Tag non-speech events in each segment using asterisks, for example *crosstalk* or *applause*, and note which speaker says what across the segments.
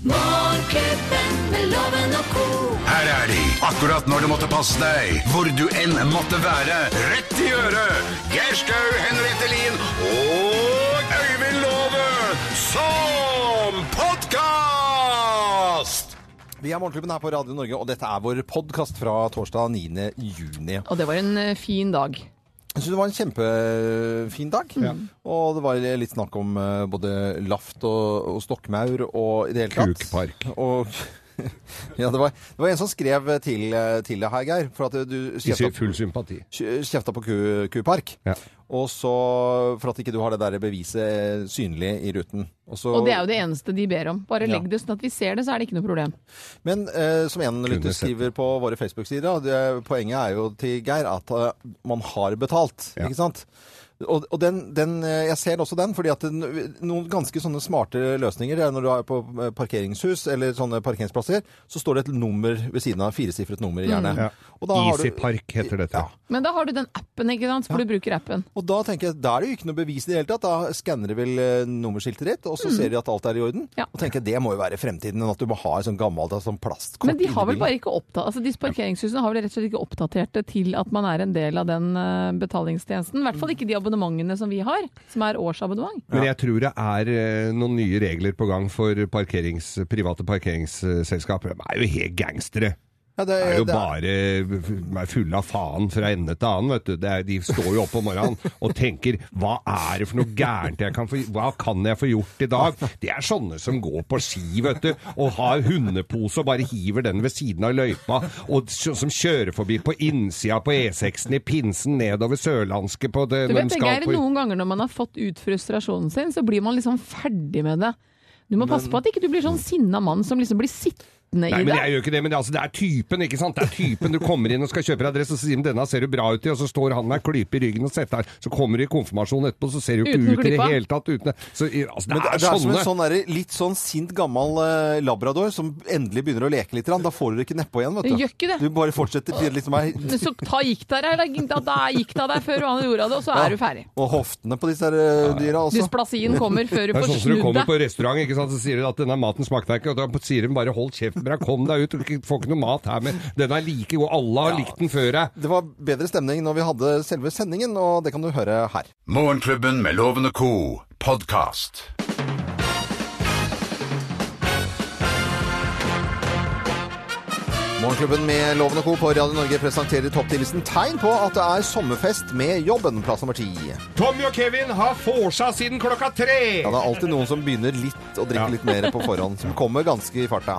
Speaker 1: Morgenklubben med loven og ko.
Speaker 2: Her er de, akkurat når du måtte passe deg, hvor du enn måtte være. Rett i øret! Geir Skau, Henriette Lien og Øyvind Låve som podkast!
Speaker 3: Vi er Morgenklubben her på Radio Norge, og dette er vår podkast fra torsdag 9. juni. Jeg
Speaker 4: Og det var en eh, fin dag.
Speaker 3: syns det var en kjempefin dag. Og det var litt snakk om eh, både laft og, og stokkmaur og i det hele tatt.
Speaker 5: Kukpark.
Speaker 3: Og, *laughs* ja, det var, det var en som skrev til, til deg her, Geir, for at du
Speaker 5: De sier
Speaker 3: kjefta-
Speaker 5: full sympati.
Speaker 3: kjefta på ku, kupark.
Speaker 5: Ja.
Speaker 3: Og så for at ikke du har det der beviset eh, synlig i ruten. så-
Speaker 4: Og det er jo det eneste de ber om. Bare
Speaker 3: Ja.
Speaker 4: legg det sånn at vi ser det, så er det ikke noe problem.
Speaker 3: Men eh, som en lytter
Speaker 5: sett
Speaker 3: skriver på våre Facebook-sider, og det, poenget er jo til Geir at eh, man har betalt,
Speaker 5: Ja.
Speaker 3: ikke sant? Og, og den, den, eh, jeg ser også den, fordi at den, noen ganske sånne smarte løsninger det er når du er på eh, parkeringshus eller sånne parkeringsplasser, så står det et nummer ved siden av, firesifret nummer
Speaker 4: Mm.
Speaker 3: gjerne.
Speaker 5: Ja.
Speaker 3: Og da har du-
Speaker 5: Easy Park heter dette.
Speaker 4: Men da har du den appen, ikke sant, for du bruker appen.
Speaker 3: Og da tenker jeg, da er det jo ikke noe bevis i det hele tatt. Da skanner de vel eh, nummerskiltet ditt, og så ser de at alt er i orden.
Speaker 4: Mm. Ja.
Speaker 3: Og tenker jeg, det må jo være fremtiden, at du må ha et sånn gammelt sånn plastkort.
Speaker 4: Men de har vel
Speaker 3: inni bilen.
Speaker 4: bare ikke opptatt, altså disse parkeringshusene har vel rett og slett ikke oppdatert det til at man er en del av den eh, betalingstjenesten. I hvert fall ikke de abonnementene som vi har, som er årsabonnement.
Speaker 5: Men jeg tror det er eh, noen nye regler på gang for parkerings, private parkeringsselskaper. De er jo helt gangstere.
Speaker 3: Ja,
Speaker 5: De er jo
Speaker 3: det
Speaker 5: bare de er fulle av faen fra ende til annen, vet du. Det er, de står jo opp om morgenen og tenker 'hva er det for noe gærent jeg kan få Hva kan jeg få gjort i dag?' Det er sånne som går på ski, vet du, og har hundepose og bare hiver den ved siden av løypa, og så- som kjører forbi på innsida på E6-en i pinsen nedover Sørlandske på det
Speaker 4: Du
Speaker 5: når
Speaker 4: vet,
Speaker 5: de
Speaker 4: Geir,
Speaker 5: skal på
Speaker 4: noen ganger når man har fått ut frustrasjonen sin, så blir man liksom ferdig med det. Du må passe på at ikke du blir sånn sinna mann som liksom blir sittende
Speaker 5: Nei,
Speaker 4: i
Speaker 5: men
Speaker 4: det.
Speaker 5: jeg gjør ikke det, men det, er altså, det er typen, ikke sant? Det er typen du kommer inn og skal kjøpe deg dress, og så sier de 'denne ser du bra ut i', og så står han med en klype i ryggen og setter her. Så kommer du i konfirmasjonen etterpå, så ser du jo
Speaker 4: Uten
Speaker 5: ikke ut i det
Speaker 4: klypa.
Speaker 5: hele tatt. Uten, så, i- altså, det,
Speaker 3: Men det,
Speaker 5: er,
Speaker 3: det er som en
Speaker 5: sånne.
Speaker 3: sånn der, litt sånn sint gammel eh, labrador som endelig begynner å leke litt. grann. Da får du det ikke nedpå igjen. vet
Speaker 4: Du
Speaker 3: Du
Speaker 4: gjør ikke det.
Speaker 3: Du bare fortsetter til det liksom er
Speaker 4: Men så ta gikk deg der, da, da gikk deg der før han gjorde det, og så er du ferdig.
Speaker 3: Og hoftene på disse der, eh, dyra også.
Speaker 4: Dysplasien kommer før du
Speaker 5: Det er
Speaker 4: får
Speaker 5: sånn som du
Speaker 4: snudd
Speaker 5: kommer
Speaker 4: deg.
Speaker 5: på restaurant, ikke sant? så sier du at 'denne maten smakte deg ikke', og da sier de bare 'hold kjeft med deg, kom deg ut', du får ikke noe mat her, men den er like god, alle har likt den før deg.
Speaker 3: Det var bedre stemning når vi hadde selve sendingen, og det kan du høre her.
Speaker 2: Morgenklubben med Loven og Co. podkast.
Speaker 3: Morgenklubben med Loven og Co. på Radio Norge presenterer topptillitsen tegn på at det er sommerfest med jobben, plass nummer ti. Ja,
Speaker 5: Tommy og Kevin har vorsa siden klokka tre!
Speaker 3: det er alltid noen som begynner litt å drikke litt mer på forhånd, som kommer ganske i farta.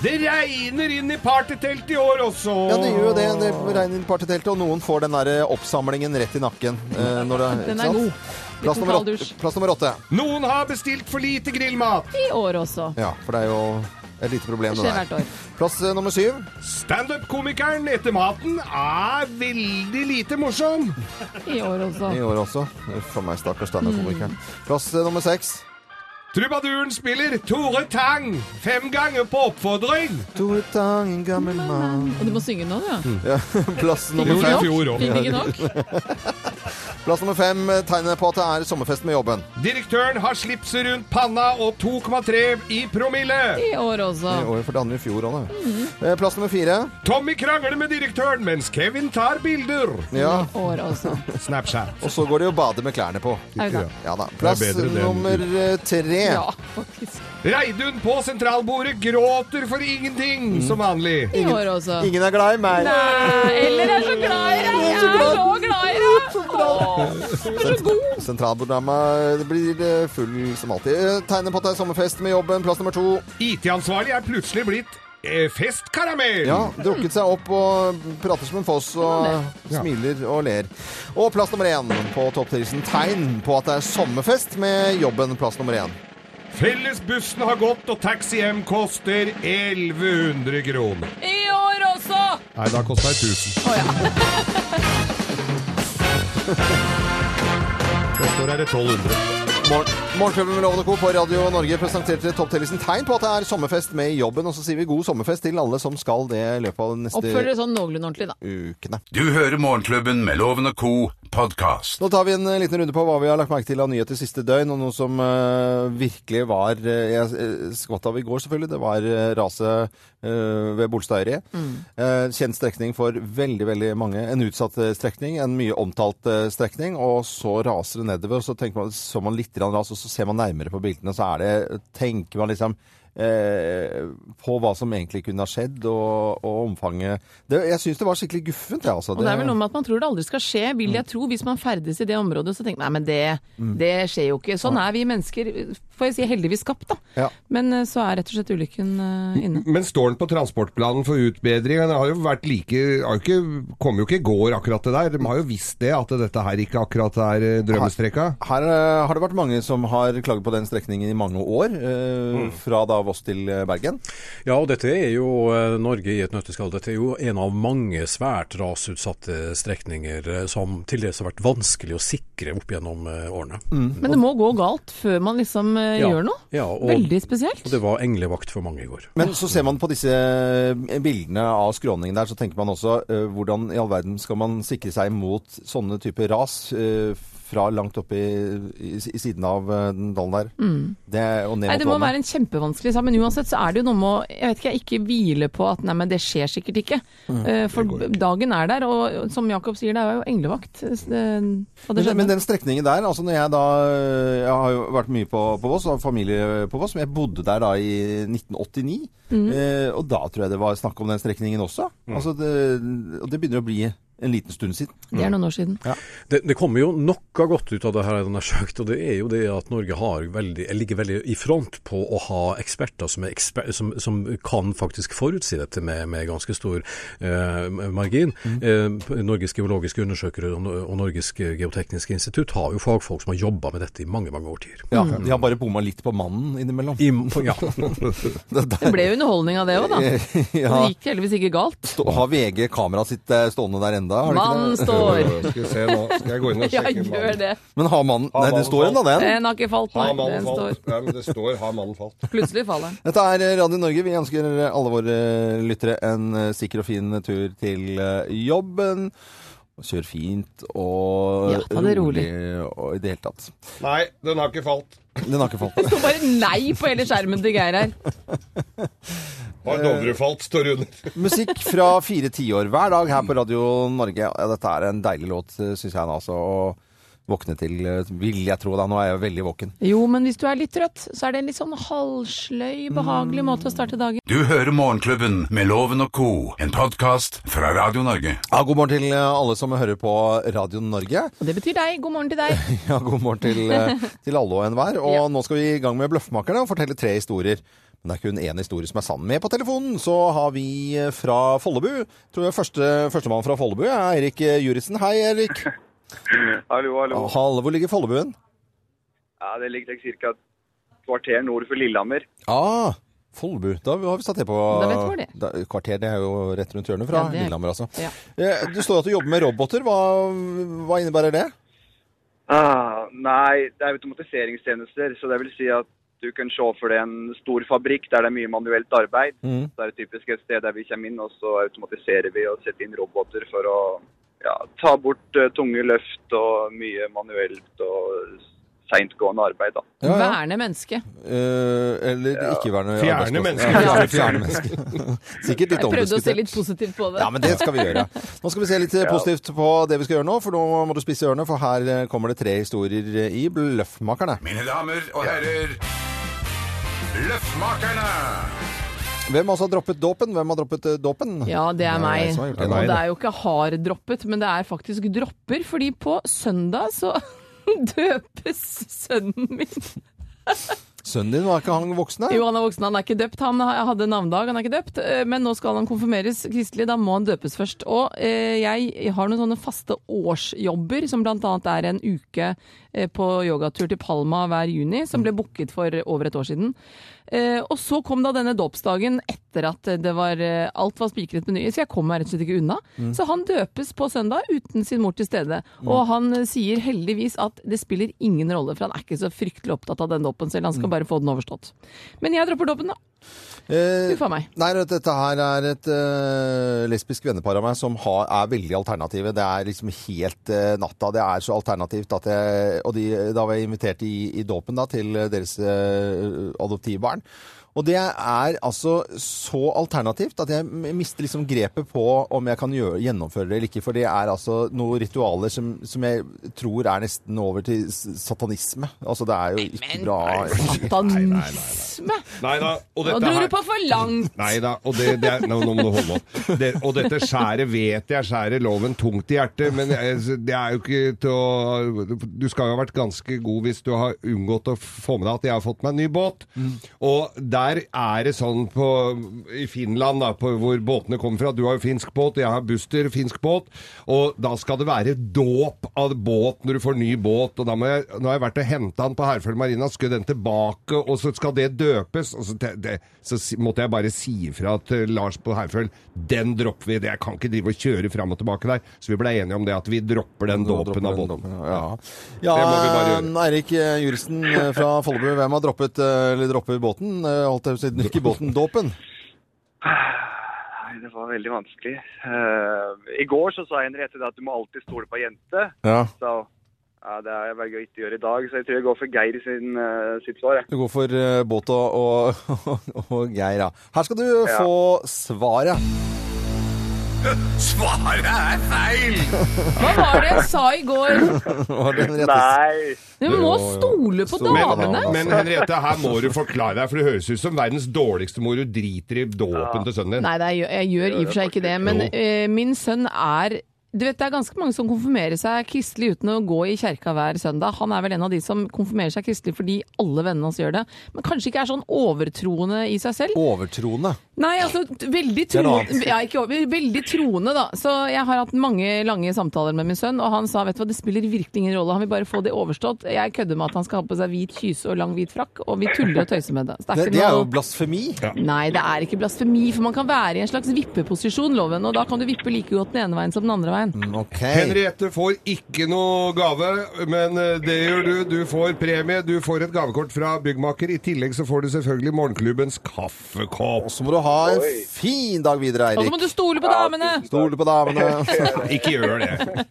Speaker 5: Det regner inn i partyteltet i år også!
Speaker 3: Ja, det gjør jo det. Det regner inn partyteltet, og noen får den der eh, oppsamlingen rett i nakken. eh, når det,
Speaker 4: Den
Speaker 3: ikke
Speaker 4: er
Speaker 3: sant?
Speaker 4: god.
Speaker 3: Plass
Speaker 4: Liten
Speaker 3: nummer, åtte,
Speaker 4: kalddusj.
Speaker 3: plass nummer åtte.
Speaker 5: Noen har bestilt for lite grillmat!
Speaker 4: I år også.
Speaker 3: Ja, for det er jo et lite problem.
Speaker 4: Det
Speaker 3: det
Speaker 4: skjer
Speaker 3: der.
Speaker 4: hvert år.
Speaker 3: Plass eh, nummer syv.
Speaker 5: Standup-komikeren etter maten er veldig lite morsom.
Speaker 4: I år også.
Speaker 3: I år også. Uff a meg, stakkars standup-komiker.
Speaker 4: Mm.
Speaker 3: Plass eh, nummer seks.
Speaker 5: Trubaduren spiller Tore Tang fem ganger på oppfordring.
Speaker 3: Tore Tang, en *laughs* gammel mann
Speaker 4: Og du må synge nå, du.
Speaker 3: Plass nummer
Speaker 5: Jo, det er
Speaker 3: fem.
Speaker 5: fjor.
Speaker 4: Fikk
Speaker 5: også.
Speaker 4: ikke nok.
Speaker 3: Plass nummer fem eh, tegner på at det er sommerfest med jobben.
Speaker 5: Direktøren har slipset rundt panna og 2,3 i promille.
Speaker 4: I år også.
Speaker 3: I år for det andre i fjor òg,
Speaker 4: Mm.
Speaker 3: da. Eh, Plass nummer fire.
Speaker 5: Tommy krangler med direktøren mens Kevin tar bilder.
Speaker 3: Ja.
Speaker 4: I år også.
Speaker 5: Snapchat.
Speaker 3: Og så går det jo å bade med klærne på.
Speaker 4: Er du da?
Speaker 3: Ja da. Plass
Speaker 5: Det er bedre det enn-
Speaker 3: nummer eh, tre.
Speaker 4: Ja, faktisk.
Speaker 5: Reidun på sentralbordet gråter for ingenting,
Speaker 4: Mm.
Speaker 5: som vanlig.
Speaker 4: I år også.
Speaker 3: Ingen er glad i meg.
Speaker 4: Nei, Eller er så glad i deg! Jeg er så glad i deg! Åh, Du er så god!
Speaker 3: Sentralborddama blir eh, full som alltid. Eh, Tegner på at det er sommerfest med jobben. Plass nummer to.
Speaker 5: IT-ansvarlig er plutselig blitt eh, festkaramell.
Speaker 3: Ja, drukket seg opp og prater som en foss og
Speaker 5: Ja.
Speaker 3: smiler og ler. Og plass nummer én på topptrisen. Tegn på at det er sommerfest med jobben. Plass nummer én.
Speaker 5: Fellesbussen har gått, og taxi hjem koster 1100 kroner.
Speaker 4: I år også!
Speaker 5: Nei, da koster det 1000.
Speaker 4: Å ja.
Speaker 5: *laughs* Det står her 1200.
Speaker 3: Morgen- Morgenklubben med Loven og Co. på Radio Norge presenterte topptellisen tegn på at det er sommerfest med jobben. Og så sier vi god sommerfest til alle som skal det i løpet av de neste
Speaker 4: Oppfør dere sånn noenlunde ordentlig, da.
Speaker 3: ukene.
Speaker 2: Du hører Morgenklubben med Loven og Co. podkast.
Speaker 3: Nå tar vi en eh, liten runde på hva vi har lagt merke til av nyheter siste døgn, og noe som eh, virkelig var eh, Jeg eh, skvatt av i går, selvfølgelig. Det var eh, raset eh, ved Bolstadøyri.
Speaker 4: Mm.
Speaker 3: Eh, kjent strekning for veldig, veldig mange. En utsatt eh, strekning, en mye omtalt eh, strekning. Og så raser det nedover, og så tenker man, så man litt grann ras, og så ser man nærmere på bildene, så er det Tenker man liksom Eh, på hva som egentlig kunne ha skjedd, og, og omfanget det, Jeg syns det var skikkelig guffent, jeg, altså.
Speaker 4: Og det er vel noe med at man tror det aldri skal skje, vil jeg tro. Hvis man ferdes i det området, så tenker man nei, men det, det skjer jo ikke. Sånn er vi mennesker, får jeg si, heldigvis skapt, da.
Speaker 3: Ja.
Speaker 4: Men eh, så er rett og slett ulykken eh, inne.
Speaker 5: Men står den på transportplanen for utbedring? Den har jo vært like har jo ikke, Kom jo ikke i går, akkurat det der. De har jo visst det, at dette her ikke akkurat er eh, drømmestreka.
Speaker 3: Her eh, har det vært mange som har klaget på den strekningen i mange år, eh, fra da Voss til eh, Bergen.
Speaker 6: Ja, og dette er jo eh, Norge i et nøtteskall. Dette er jo en av mange svært rasutsatte strekninger eh, som til dels har vært vanskelig å sikre opp gjennom eh, årene.
Speaker 4: Men det må gå galt før man liksom eh,
Speaker 6: Ja.
Speaker 4: Mm. gjør noe.
Speaker 6: Ja, og-
Speaker 4: Veldig spesielt.
Speaker 6: Og det var englevakt for mange i går.
Speaker 3: Men så ser man på disse eh, bildene av skråningen der, så tenker man også eh, hvordan i all verden skal man sikre seg mot sånne typer ras eh, fra langt oppe i, i, i siden av eh, den dalen der. Det, og ned
Speaker 4: Mm. Nei,
Speaker 3: mot
Speaker 4: Det må
Speaker 3: vannet.
Speaker 4: være en kjempevanskelig sak, men uansett så er det jo noe med å jeg vet ikke, jeg ikke hvile på at nei, men det skjer sikkert ikke. Eh, for dagen er der, og som Jakob sier, det er jo englevakt. eh, og det
Speaker 3: Men,
Speaker 4: skjedde.
Speaker 3: men den strekningen der, altså når jeg da øh, Jeg har jo vært mye på, på Voss, og har familie på Voss, men jeg bodde der da i 1989. Eh, og da tror jeg det var snakk om den strekningen også.
Speaker 5: Mm.
Speaker 3: Altså det, og det begynner å bli en liten stund siden.
Speaker 4: det er noen år siden.
Speaker 6: Det, det kommer jo noe godt ut av det her, den har søkt, og det er jo det at Norge har veldig, ligger veldig i front på å ha eksperter som, er eksper, som, som kan faktisk forutsi dette med, med ganske stor eh, margin. Eh, Norges geologiske undersøkere og, og Norges geotekniske institutt har jo fagfolk som har jobba med dette i mange, mange årtier.
Speaker 3: Ja, De har bare bomma litt på mannen *laughs* innimellom.
Speaker 6: Mm. I, ja.
Speaker 4: *laughs* Det ble jo underholdning av det òg, da.
Speaker 3: *laughs* ja.
Speaker 4: Det gikk heldigvis ikke galt.
Speaker 3: Stå, har VG kameraet sitt eh, stående der enda? Har de ikke
Speaker 4: Mannen
Speaker 3: det? *laughs*
Speaker 4: står.
Speaker 5: Skal vi se nå. Skal jeg gå inn og
Speaker 4: *laughs* Ja,
Speaker 5: sjekke?
Speaker 4: gjør det.
Speaker 3: Men har mannen Nei,
Speaker 5: Har
Speaker 3: den
Speaker 5: mannen
Speaker 3: står ennå, den.
Speaker 4: Den har ikke falt,
Speaker 5: Har
Speaker 4: nei.
Speaker 5: mannen
Speaker 4: Den står.
Speaker 5: falt? Nei, men det står 'har mannen falt'.
Speaker 4: Plutselig faller den.
Speaker 3: Dette er Radio Norge. Vi ønsker alle våre lyttere en eh, sikker og fin tur til eh, jobben. Og Kjør fint og
Speaker 4: Ja, ta det rolig.
Speaker 3: og i det hele tatt.
Speaker 5: Nei, den har ikke falt.
Speaker 3: Den har ikke falt.
Speaker 4: Så bare nei på hele skjermen til Geir her.
Speaker 5: Har Dovre falt, står under.
Speaker 3: *laughs* Musikk fra fire tiår hver dag her på Radio Norge. Ja, dette er en deilig låt, syns jeg. Altså, å våkne til, eh, vil jeg tro. da. Nå er jeg veldig våken.
Speaker 4: Jo, men hvis du er litt trøtt, så er det en litt sånn halvsløy, behagelig måte å starte dagen
Speaker 2: Du hører Morgenklubben med Loven og co., en podkast fra Radio Norge.
Speaker 3: Ja, god morgen til eh, alle som hører på Radio Norge.
Speaker 4: Og det betyr deg. God morgen til deg.
Speaker 3: Ja, god morgen
Speaker 4: *laughs*
Speaker 3: til, eh, til alle og enhver. Og
Speaker 4: Ja.
Speaker 3: nå skal vi i gang med Bløffmakerne og fortelle tre historier. Men det er kun én historie som er sann. Med på telefonen så har vi eh, fra Follebu. Tror jeg første, Førstemann fra Follebu er Eirik eh, Juritzen. Hei,
Speaker 5: *laughs*
Speaker 3: Eirik.
Speaker 7: Hallo, hallo.
Speaker 3: Hallo, hvor ligger Follebuen?
Speaker 7: Ja, det ligger like ca. et kvarter nord for Lillehammer.
Speaker 3: Ah, Follebu. Da har vi satt det på
Speaker 4: Da vet vi hvor det er.
Speaker 3: Da- Kvarter, det er jo rett rundt hjørnet fra
Speaker 4: Ja, det er-
Speaker 3: Lillehammer, altså.
Speaker 4: *laughs* Ja.
Speaker 3: Eh, Du står at du jobber med roboter. Hva, hva innebærer det?
Speaker 7: Ah, nei, det er automatiseringstjenester, så det vil si at du kan se for deg en stor fabrikk der det er mye manuelt arbeid.
Speaker 3: Mhm.
Speaker 7: Det er det typisk et sted der vi kommer inn, og så automatiserer vi og setter inn roboter for å ja, ta bort eh, tunge løft og mye manuelt og seintgående arbeid. Da.
Speaker 3: Ja, ja.
Speaker 4: Verne menneske.
Speaker 3: Eh, eller ikke være noe
Speaker 5: Fjerne
Speaker 3: arbeidsplass.
Speaker 5: mennesker.
Speaker 3: Ja,
Speaker 5: Ja.
Speaker 3: fjerne, fjerne
Speaker 4: *laughs*
Speaker 3: mennesker. Sikkert litt
Speaker 4: Jeg prøvde å se
Speaker 3: omdiskutert.
Speaker 4: litt positivt på det.
Speaker 3: Ja, men det skal vi gjøre.
Speaker 4: *laughs*
Speaker 3: Nå skal vi se litt eh, positivt på det vi skal gjøre nå, for nå må du spisse ørene, for her eh, kommer det tre historier eh, i Bløffmakerne.
Speaker 2: Mine damer og herrer, Løffmakerne!
Speaker 3: Hvem altså har droppet dåpen? Hvem har droppet eh, dåpen?
Speaker 4: Ja, det er meg.
Speaker 3: som har gjort det.
Speaker 4: Og det er jo ikke harddroppet, men det er faktisk dropper. Fordi på søndag så *laughs* døpes sønnen min.
Speaker 3: Sønnen din, var ikke han voksen?
Speaker 4: Jo, han er voksen, han er ikke døpt. Han ha- hadde navnedag, han er ikke døpt. Eh, Men nå skal han konfirmeres kristelig, da må han døpes først. Og eh, jeg har noen sånne faste årsjobber, som blant annet er en uke eh, på yogatur til Palma hver juni, som ble booket for over et år siden. Eh, og så kom da denne dåpsdagen etter at det var, eh, alt var spikret med nye, så jeg kom meg rett og slett ikke unna. Så han døpes på søndag uten sin mor til stede. Og han eh, sier heldigvis at det spiller ingen rolle, for han er ikke så fryktelig opptatt av den dåpen selv, han skal bare få den overstått. Men jeg dropper dåpen, da.
Speaker 3: Eh,
Speaker 4: Uffa meg.
Speaker 3: Nei, vet du, dette her er et eh, lesbisk vennepar av meg som har, er veldig alternative. Det er liksom helt eh, natta. Det er så alternativt at jeg Og de, da var jeg invitert i, i dåpen da, til deres eh, adoptivbarn. Og det er altså så alternativt at jeg m- mister liksom grepet på om jeg kan gjøre, gjennomføre det eller ikke. For det er altså noen ritualer som, som jeg tror er nesten over til s- satanisme. Altså det er jo ikke bra.
Speaker 4: Satanisme!
Speaker 5: Nei da, og
Speaker 4: Nå
Speaker 5: dette
Speaker 4: dro
Speaker 5: her
Speaker 4: du på for langt!
Speaker 5: *laughs* Nei da, og det, det er, nå, nå må du holde opp. Det, og dette skjæret vet jeg skjærer loven tungt i hjertet, men jeg- det er jo ikke til å Du skal jo ha vært ganske god hvis du har unngått å få med deg at jeg har fått meg en ny båt. Og der er det sånn på, i Finland, da, på, hvor båtene kommer fra Du har jo finsk båt, jeg har Buster, finsk båt. Og da skal det være dåp av båt når du får ny båt. Og da må jeg, nå har jeg vært og henta den på Herføl Marina, skulle den tilbake, og så skal det døpes. Og så, te- det, så si- måtte jeg bare si ifra til Lars på Herføl den dropper vi. Det- Jeg kan ikke drive og kjøre fram og tilbake der. Så vi ble enige om det at vi dropper den dåpen av båten.
Speaker 3: Ja,
Speaker 5: Det må vi bare
Speaker 3: ja
Speaker 5: gjøre.
Speaker 3: Eirik eh, Juristen eh, fra Follebu, hvem har droppet, eh, eller dropper båten? Eh, Holdt jeg på å si, ikke
Speaker 5: *laughs*
Speaker 3: båten, dåpen.
Speaker 7: Nei, det var veldig vanskelig. Eh, I går så sa Henriette det at du må alltid stole på ei jente.
Speaker 3: Ja.
Speaker 7: Så ja, det er jeg velger å ikke gjøre i dag, så jeg tror jeg går for Geir sin, eh, sitt svar. jeg.
Speaker 3: Du går for eh, båt og, *laughs* og, og Geir, ja. Her skal du få svaret. *laughs*
Speaker 2: Svaret er feil!
Speaker 4: Hva var det jeg sa i går?
Speaker 3: Var det den rette-
Speaker 7: Nei!
Speaker 4: Du må stole på
Speaker 3: Stole på
Speaker 4: damene!
Speaker 3: damene.
Speaker 5: Men Henriette, her må du forklare deg, for det høres ut som verdens dårligste mor. Du driter i dåpen til sønnen
Speaker 4: *laughs*
Speaker 5: din.
Speaker 4: Nei, det er, jeg gjør i og for seg ikke det, men
Speaker 5: Jo.
Speaker 4: eh, min sønn er du vet, Det er ganske mange som konfirmerer seg kristelig uten å gå i kjerka hver søndag. Han er vel en av de som konfirmerer seg kristelig fordi alle vennene hans gjør det, men kanskje ikke er sånn overtroende i seg selv.
Speaker 3: Overtroende.
Speaker 4: Nei, altså t- veldig
Speaker 3: er noe
Speaker 4: troende,
Speaker 3: annet.
Speaker 4: ja, ikke over, veldig troende da. Så jeg har hatt mange lange samtaler med min sønn, og han sa, vet du hva, det spiller virkelig ingen rolle, han vil bare få det overstått. Jeg kødder med at han skal ha på seg hvit kyse og lang hvit frakk, og vi tuller og tøyser med det. Så
Speaker 3: Det,
Speaker 4: ikke
Speaker 3: det er
Speaker 4: noe-
Speaker 3: jo blasfemi.
Speaker 4: Nei, det er ikke blasfemi, for man kan være i en slags vippeposisjon, loven, og da kan du vippe like godt den ene veien som den andre veien.
Speaker 3: Mm, Ok.
Speaker 5: Henriette får ikke noe gave, men eh, det gjør du. Du får premie, du får et gavekort fra byggmaker. I tillegg så får du selvfølgelig morgenklubbens
Speaker 3: Og
Speaker 5: kaffekopp.
Speaker 3: så må du ha en
Speaker 7: Oi.
Speaker 3: fin dag videre,
Speaker 4: Og så må
Speaker 3: Eirik.
Speaker 4: du stole på damene!
Speaker 3: Stole
Speaker 7: *laughs*
Speaker 3: på damene.
Speaker 5: Ikke gjør det.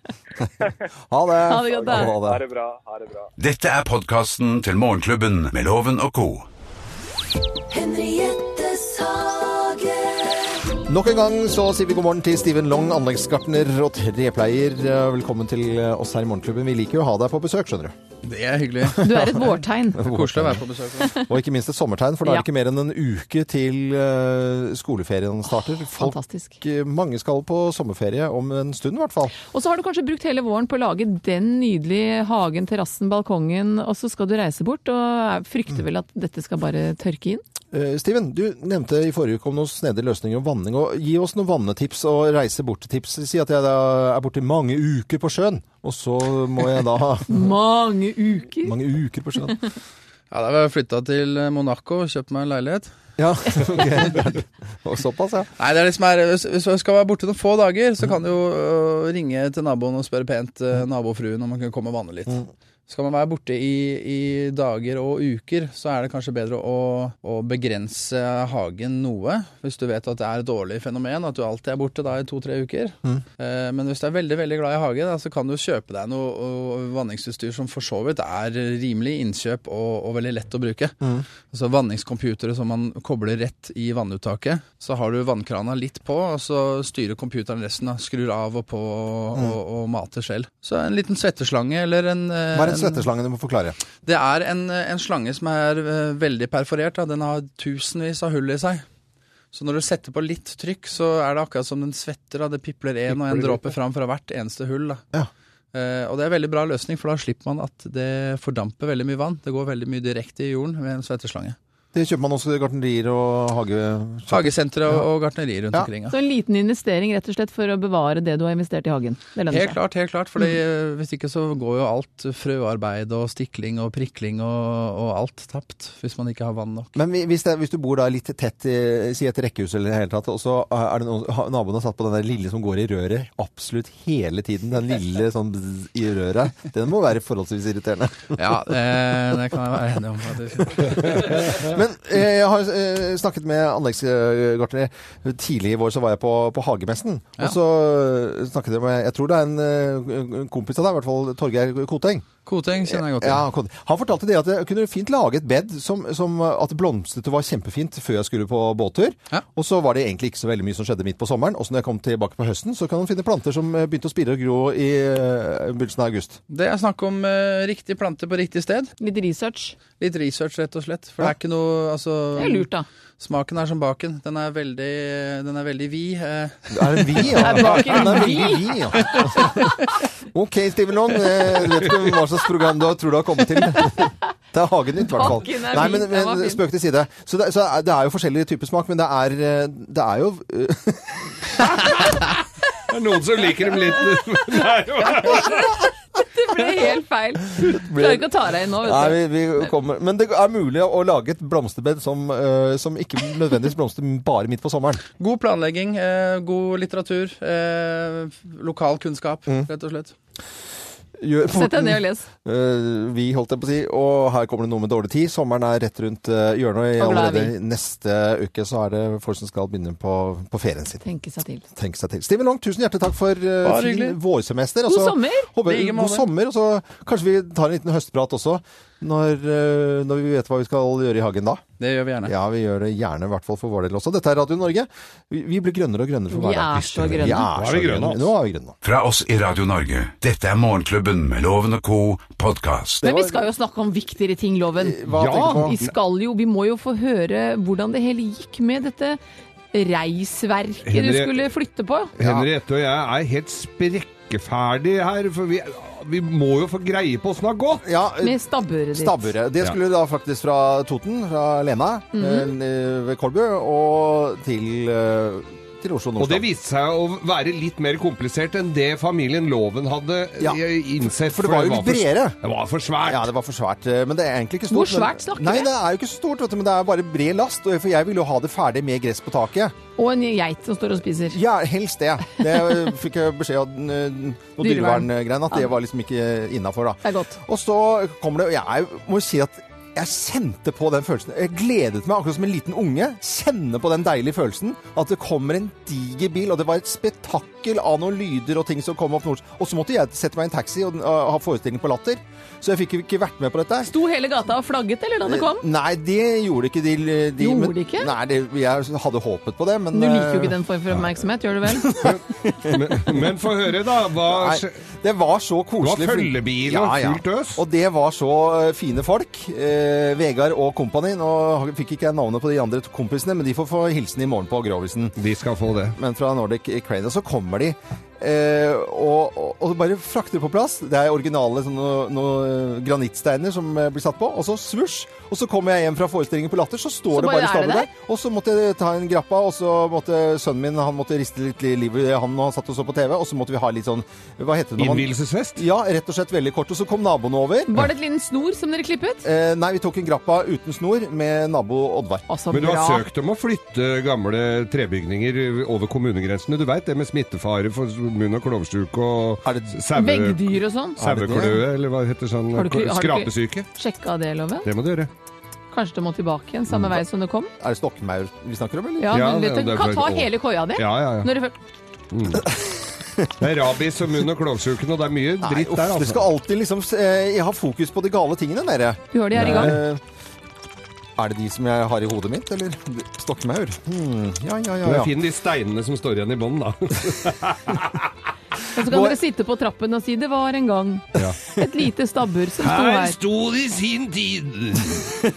Speaker 3: Ha det.
Speaker 4: Ha det godt, da.
Speaker 7: Ha det bra. Ha det bra.
Speaker 2: Dette er podkasten til Morgenklubben med Loven og co.
Speaker 1: Henriettes hage.
Speaker 3: Nok en gang så sier vi god morgen til Steven Long, anleggsgartner og trepleier. Eh, Velkommen til eh, oss her i Morgenklubben. Vi liker jo å ha deg på besøk,
Speaker 4: *laughs*
Speaker 3: skjønner du.
Speaker 8: Det er hyggelig.
Speaker 4: Du er et vårtegn.
Speaker 8: Koselig å være på besøk. hos.
Speaker 3: Og ikke minst et sommertegn, for da er
Speaker 4: Ja.
Speaker 3: det ikke mer enn en uke til eh, skoleferien starter. Folk,
Speaker 4: Fantastisk.
Speaker 3: eh, mange skal på sommerferie om en stund, i hvert fall.
Speaker 4: Og så har du kanskje brukt hele våren på å lage den nydelige hagen, terrassen, balkongen, og så skal du reise bort, og frykter vel at dette skal bare tørke inn?
Speaker 3: Eh, Steven, du nevnte i forrige uke om noen snedige løsninger om vanning. og Gi oss noen vannetips og reise bort-tips. Si at jeg da er borte i mange uker på sjøen, og så må jeg
Speaker 4: *laughs*
Speaker 3: da
Speaker 4: Mange uker!
Speaker 3: Mange uker på sjøen.
Speaker 8: Ja, da har jeg flytta til eh, Monaco og kjøpt meg en leilighet.
Speaker 3: Ja, *laughs* ok.
Speaker 4: *laughs*
Speaker 3: Og såpass, ja.
Speaker 8: Nei, det er liksom her, Hvis hvis jeg skal være borte noen få dager, så kan du jo øh, ringe til naboen og spørre pent øh, nabofruen om han kan komme og vanne litt. Skal man være borte i, i dager og uker, så er det kanskje bedre å, å begrense hagen noe. Hvis du vet at det er et årlig fenomen, at du alltid er borte da i to-tre uker. Eh, Men hvis du er veldig veldig glad i hage, da, så kan du kjøpe deg noe og vanningsutstyr som for så vidt er rimelig innkjøp og, og veldig lett å bruke. Altså Vanningscomputere som man kobler rett i vannuttaket. Så har du vannkrana litt på, og så styrer computeren resten. da. Skrur av og på og, og, og mater selv. Så en liten svetteslange eller en eh,
Speaker 3: Hva er en svetteslange du må forklare?
Speaker 8: Det er en, en slange som er eh, veldig perforert. Da. Den har tusenvis av hull i seg. Så når du setter på litt trykk, så er det akkurat som den svetter. Da. Det pipler en og en dråpe fram fra hvert eneste hull. Da.
Speaker 3: Ja.
Speaker 8: Eh, og det er en veldig bra løsning, for da slipper man at det fordamper veldig mye vann. Det går veldig mye direkte i jorden ved en svetteslange.
Speaker 3: Det kjøper man også i gartnerier og hage...
Speaker 8: Hagesentre og, og gartnerier rundt
Speaker 3: Ja.
Speaker 8: omkring. Ja.
Speaker 4: Så en liten investering rett og slett for å bevare det du har investert i hagen. Det lønner
Speaker 8: Helt
Speaker 4: seg.
Speaker 8: klart, helt klart. For
Speaker 3: Mm.
Speaker 8: hvis ikke så går jo alt frøarbeid og stikling og prikling og, og alt tapt. Hvis man ikke har vann nok.
Speaker 3: Men hvi- hvis, det, hvis du bor da litt tett, i- si et rekkehus eller i det hele tatt, og så er det noen, ha- naboen har satt på den der lille som går i røret absolutt hele tiden, den lille sånn bzz i røret, den må være forholdsvis irriterende.
Speaker 8: Ja, eh, det kan jeg være enig om. faktisk.
Speaker 3: Men Men eh, jeg har eh, snakket med anleggsgartnere tidlig i vår, så var jeg på, på hagemessen. Og så eh, snakket jeg med Jeg tror det er en, eh, en kompis av deg, i hvert fall Torgeir Koteng.
Speaker 8: Koteng kjenner jeg godt
Speaker 3: Ja,
Speaker 8: til.
Speaker 3: han kom- han fortalte det at jeg kunne fint lage et bed som, som at blomstete var kjempefint før jeg skulle på båttur.
Speaker 8: Ja.
Speaker 3: Og så var det egentlig ikke så veldig mye som skjedde midt på sommeren. Og så når jeg kom tilbake på høsten, så kan man finne planter som eh, begynte å spire og gro i eh, begynnelsen av august.
Speaker 8: Det er snakk om eh, riktig plante på riktig sted.
Speaker 4: Litt research.
Speaker 8: Litt research, rett og slett. For det er ikke noe altså,
Speaker 4: Det er lurt, da.
Speaker 8: Smaken er som baken. Den er veldig, den er veldig vid. eh.
Speaker 3: Er det vi, ja?
Speaker 4: *laughs* Er baken
Speaker 3: Ja, det er
Speaker 4: vi?
Speaker 3: veldig vi, ja. *laughs* OK, Steven Long. Jeg vet ikke hva slags program du har- tror du har kommet til. Det er Hagen Nytt, i hvert fall.
Speaker 4: Hagen er
Speaker 3: Nei,
Speaker 4: fin,
Speaker 3: men,
Speaker 4: den var
Speaker 3: men
Speaker 4: fin.
Speaker 3: spøk til side. Så det, så er- det er jo forskjellige typer smak, men det er, eh, det er jo eh,
Speaker 5: Det er noen som liker dem
Speaker 3: *laughs*
Speaker 5: litt Nei,
Speaker 4: Det ble helt feil. Klarer ikke å ta deg inn nå,
Speaker 3: Nei,
Speaker 4: vet du.
Speaker 3: vi, vi kommer. Men det er mulig å lage et blomsterbed som, eh, som ikke nødvendigvis blomster bare midt på sommeren.
Speaker 8: God planlegging, eh, god litteratur, eh, lokal kunnskap,
Speaker 3: Mm.
Speaker 8: rett og slett.
Speaker 3: Gjør-
Speaker 4: Sett deg ned og les.
Speaker 3: Eh, vi, holdt jeg på å si. Og her kommer det noe med dårlig tid. Sommeren er rett rundt eh, hjørnet. og
Speaker 4: Og glad er
Speaker 3: Allerede neste uke så er det folk som skal begynne på, på ferien sin.
Speaker 4: Tenke seg til.
Speaker 3: Tenk seg til. Steven Long, tusen hjertelig takk for eh,
Speaker 8: Bare
Speaker 3: fin
Speaker 8: hyggelig.
Speaker 3: vårsemester. Altså,
Speaker 4: God sommer!
Speaker 3: Håper,
Speaker 8: Like måte.
Speaker 3: god sommer, og så kanskje vi tar en liten høstprat også, når, eh, når vi vet hva vi skal gjøre i hagen da.
Speaker 8: Det gjør vi gjerne.
Speaker 3: Ja, vi gjør det gjerne, i hvert fall for vår del også. Dette er Radio Norge. Vi, vi blir grønnere og grønnere for
Speaker 4: Vi
Speaker 3: hver dag.
Speaker 4: er så
Speaker 3: Vi
Speaker 4: grønne.
Speaker 5: Nå
Speaker 3: er
Speaker 5: er
Speaker 3: så
Speaker 5: vi grønne,
Speaker 3: grønne.
Speaker 5: altså.
Speaker 3: Nå er vi grønne.
Speaker 2: Fra oss i Radio Norge. Dette er Morgenklubben med Loven og co. podkast.
Speaker 4: Men vi skal jo snakke om viktigere ting, Loven.
Speaker 3: Eh, Hva
Speaker 5: Ja.
Speaker 3: tenker du på?
Speaker 4: Vi skal jo, vi må jo få høre hvordan det hele gikk med dette reisverket du
Speaker 5: Henri-
Speaker 4: skulle flytte på.
Speaker 5: Henriette og jeg er helt sprekkeferdig her, for vi, vi må jo få greie på åssen det har gått.
Speaker 3: Ja, eh,
Speaker 4: Med stabburet ditt.
Speaker 3: stabburet. Det skulle da faktisk fra Toten, fra Lena
Speaker 4: Mhm.
Speaker 3: eh, ved Kolbu, og til, eh, til Oslo
Speaker 5: Og
Speaker 3: Nordstrand.
Speaker 5: det viste seg å være litt mer komplisert enn det familien Loven hadde
Speaker 3: Ja.
Speaker 5: eh, innsett.
Speaker 3: For det var jo litt
Speaker 5: for-
Speaker 3: bredere.
Speaker 5: Det var for svært.
Speaker 3: Ja, det var for svært, eh, men det er egentlig ikke stort.
Speaker 4: Hvor
Speaker 3: men-
Speaker 4: svært snakker
Speaker 3: Nei,
Speaker 4: vi?
Speaker 3: det er jo ikke så stort, vet du, men det er bare bred last, og- for jeg ville jo ha det ferdig med gress på taket.
Speaker 4: Og en geit som står og spiser.
Speaker 3: Ja, helst det. Det eh, fikk jeg beskjed av den, eh, noen
Speaker 4: Dyrevern.
Speaker 3: dyreverngreiene, at det var liksom ikke innafor, da.
Speaker 4: Det er godt.
Speaker 3: Og så kommer det, og jeg må si at jeg kjente på den følelsen. Jeg gledet meg akkurat som en liten unge. Kjenne på den deilige følelsen at det kommer en diger bil, og det var et spetakkel av noen lyder og ting som kom opp nord. Og så måtte jeg sette meg i en taxi og, og ha forestilling på latter. Så jeg fikk jo ikke vært med på dette.
Speaker 4: Sto hele gata og flagget, eller da det kom?
Speaker 3: Nei, det gjorde ikke de. de
Speaker 4: Gjorde
Speaker 3: men-
Speaker 4: det ikke?
Speaker 3: Nei, det, jeg hadde håpet på det, men
Speaker 4: Du liker jo
Speaker 3: eh,
Speaker 4: ikke den form for oppmerksomhet, gjør du
Speaker 3: *laughs*
Speaker 4: vel?
Speaker 5: Men, men få høre, da. Hva
Speaker 3: Nei, det var så koselig.
Speaker 5: Det var følgebil og fullt øs.
Speaker 3: Og det var så eh, fine folk. Eh, Vegard og kompani. Nå har- fikk ikke jeg navnet på de andre to kompisene, men de får få hilsen i morgen på Grovisen.
Speaker 5: De skal få det.
Speaker 3: Men fra Nordic Crane. Og så kommer de eh, og, og, og bare frakter på plass. Det er originale sånne, noe granittsteiner som eh, blir satt på, og så svosj. Og så kommer jeg hjem fra forestillingen på Latter, så
Speaker 4: Så
Speaker 3: står det
Speaker 4: bare
Speaker 3: bare
Speaker 4: er det
Speaker 3: stabler der. Og så måtte jeg ta en grappa, og så måtte sønnen min han måtte riste litt i livet i han når han satt og så på TV, og så måtte vi ha litt sånn Hva heter det når man
Speaker 5: Innvielsesfest?
Speaker 3: Ja, rett og slett veldig kort. Og så kom naboen over.
Speaker 4: Var det et liten snor som dere klippet?
Speaker 3: Eh, nei, vi tok en grappa uten snor med nabo Oddvar.
Speaker 4: Altså,
Speaker 5: Men du
Speaker 4: bra.
Speaker 5: har søkt om å flytte gamle trebygninger over kommunegrensene. Du veit det med smittefare for munn- og klovsjuke og
Speaker 3: Er det-
Speaker 5: saue-
Speaker 4: Veggdyr og sånn.
Speaker 5: sauekløe, eller hva heter sånn
Speaker 4: Har du ikke- har du ikke-
Speaker 5: Skrapesyke.
Speaker 4: Sjekka det, Loven.
Speaker 5: Det må du gjøre.
Speaker 4: Kanskje det må tilbake igjen, samme vei som det kom.
Speaker 3: Er det stokkmaur vi snakker om, eller?
Speaker 4: Ja,
Speaker 5: Mm. Ja,
Speaker 4: men
Speaker 5: ja,
Speaker 4: vet du,
Speaker 5: det er
Speaker 4: kan
Speaker 5: for-
Speaker 4: ta hele koia di.
Speaker 5: Ja, ja, ja.
Speaker 4: Når du først
Speaker 5: Det er rabies og munn- og klovsjuken, og det er mye
Speaker 3: Nei,
Speaker 5: dritt
Speaker 3: uff,
Speaker 5: der,
Speaker 3: dere skal
Speaker 5: altså.
Speaker 3: alltid liksom eh, ha fokus på de gale tingene, dere.
Speaker 4: Du hører de er i gang.
Speaker 3: Eh, er det de som jeg har i hodet mitt, eller? Stokkmaur? Hmm, ja, ja, ja.
Speaker 5: Det
Speaker 3: ja.
Speaker 5: er fin de steinene som står igjen i bånn, da.
Speaker 4: Og så kan dere sitte på trappen og si 'det var en gang'. Et lite stabbur som sto her.
Speaker 5: sto det i sin tid!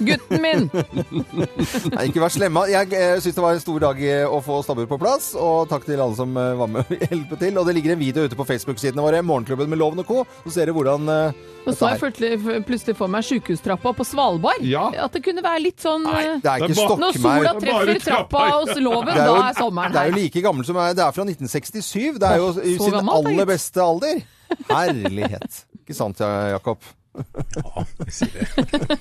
Speaker 4: Gutten min!
Speaker 3: Nei, ikke vær slemme. Jeg eh, syns det var en stor dag eh, å få stabbur på plass, og takk til alle som eh, var med og *laughs* hjelpe til. Og det ligger en video ute på Facebook-sidene våre, Morgenklubben med Loven og co., så ser dere hvordan eh,
Speaker 4: Og så jeg
Speaker 3: dette her-
Speaker 4: plutselig, plutselig for meg sykehustrappa på Svalbard.
Speaker 5: Ja.
Speaker 4: At det kunne være litt sånn
Speaker 3: Nei,
Speaker 4: eh,
Speaker 3: det er
Speaker 5: Det er
Speaker 3: ikke
Speaker 5: bare-
Speaker 3: stokkmaur.
Speaker 4: Når sola
Speaker 5: Bare
Speaker 4: treffer
Speaker 5: trappa.
Speaker 4: trappa hos loven,
Speaker 3: Det
Speaker 4: da
Speaker 3: jo-
Speaker 4: er sommeren
Speaker 3: Det er jo
Speaker 4: her.
Speaker 3: like gammel som er, det er fra 1967. Det er jo i
Speaker 4: så
Speaker 3: sin
Speaker 4: gammelt, da,
Speaker 3: aller
Speaker 4: gitt.
Speaker 3: beste alder. Herlighet. Ikke sant, ja, Jakob?
Speaker 6: Ja, jeg sier det.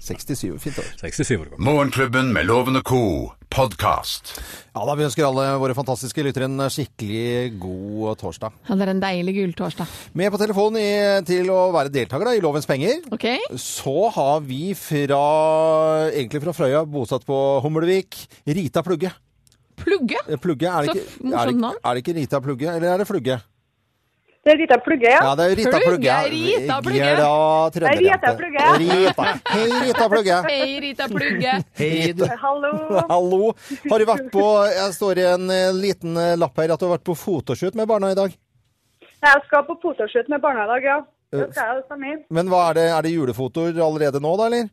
Speaker 3: 67, fint år.
Speaker 6: 67 år gammel.
Speaker 2: Morgenklubben med Loven og co. podkast.
Speaker 3: Ja, da Vi ønsker alle våre fantastiske lyttere en skikkelig god torsdag.
Speaker 4: Ja, det er en deilig gulltorsdag.
Speaker 3: Med på telefonen i, til å være deltaker da, i Lovens penger,
Speaker 4: OK?
Speaker 3: så har vi fra egentlig fra Frøya, bosatt på Humlevik, Rita Plugge.
Speaker 4: Plugge?
Speaker 3: Eh, Plugge, er det,
Speaker 4: Så
Speaker 3: ikke,
Speaker 4: morsomt
Speaker 3: er, det,
Speaker 4: navn.
Speaker 3: ikke- er det ikke Rita Plugge, eller er det Flugge?
Speaker 9: Det er Rita Plugge, ja.
Speaker 3: Ja, det er jo Rita
Speaker 4: Plugge,
Speaker 3: Plugge. ja.
Speaker 4: Rita Plugge.
Speaker 3: Jeg er da
Speaker 9: Det er Rita
Speaker 3: trønderjente.
Speaker 9: Plugge.
Speaker 3: Rita. Hei, Rita Plugge.
Speaker 4: Hei, Rita Plugge.
Speaker 9: Eh, Hallo.
Speaker 3: Hallo. Har du vært på Jeg står i en eh, liten eh, lapp her at du har vært på fotoshoot med barna i dag.
Speaker 9: Nei, Jeg skal på fotoshoot med barna i dag, ja. Det skal jeg, altså, det stemmer.
Speaker 3: Men hva er det? Er det julefotoer allerede nå, da, eller?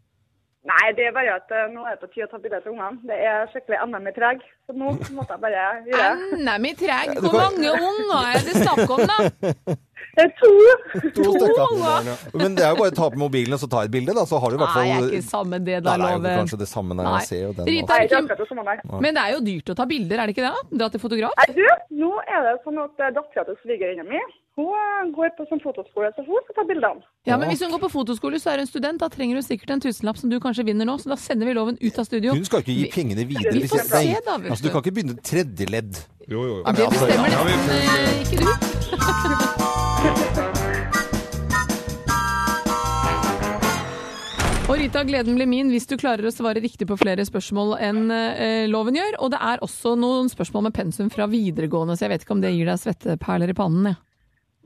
Speaker 9: Nei, det er bare at eh, nå er det på tide å ta bilde til ungene. Det er skikkelig NM i treg, så nå måtte jeg bare gjøre det.
Speaker 4: Anna mi treg.
Speaker 3: du
Speaker 4: Hvor
Speaker 3: kan-
Speaker 4: mange unger er det snakk om, da?
Speaker 9: Det er to!
Speaker 3: To
Speaker 4: unger.
Speaker 3: Men det er jo bare å ta opp mobilen og så ta et bilde, da. Så har du i
Speaker 4: Nei,
Speaker 3: hvert fall
Speaker 4: er ikke samme det,
Speaker 3: Nei,
Speaker 4: da,
Speaker 3: det er jo
Speaker 4: Loven.
Speaker 3: kanskje det samme der.
Speaker 4: Nei.
Speaker 3: Jeg ser jo den.
Speaker 4: Rita-
Speaker 3: også.
Speaker 9: Nei, det er akkurat det samme der.
Speaker 4: Men det er jo dyrt å ta bilder, er det ikke det? da? Dra til fotograf?
Speaker 9: Nei, du, nå er det sånn at eh, dattera til svigerinna mi hun eh, går på sånn fotoskole, så hun skal ta bildene.
Speaker 4: Ja, men Hvis hun går på fotoskole, så er hun student. Da trenger hun sikkert en tusenlapp som du kanskje vinner nå, så da sender vi loven ut av studio.
Speaker 3: Hun skal jo ikke gi
Speaker 4: Vi-
Speaker 3: pengene videre.
Speaker 4: Vi
Speaker 3: hvis
Speaker 4: får
Speaker 3: det-
Speaker 4: se,
Speaker 3: Nei,
Speaker 4: da, vet
Speaker 3: Altså,
Speaker 4: du.
Speaker 3: du kan ikke begynne tredje ledd.
Speaker 5: Jo, jo, jo.
Speaker 3: Nei, men
Speaker 4: Det
Speaker 3: altså,
Speaker 4: bestemmer
Speaker 3: ja,
Speaker 4: nesten eh, ikke du. *laughs* Og Rita, gleden blir min hvis du klarer å svare riktig på flere spørsmål enn eh, loven gjør. Og det er også noen spørsmål med pensum fra videregående, så jeg vet ikke om det gir deg svetteperler i pannen. Ja.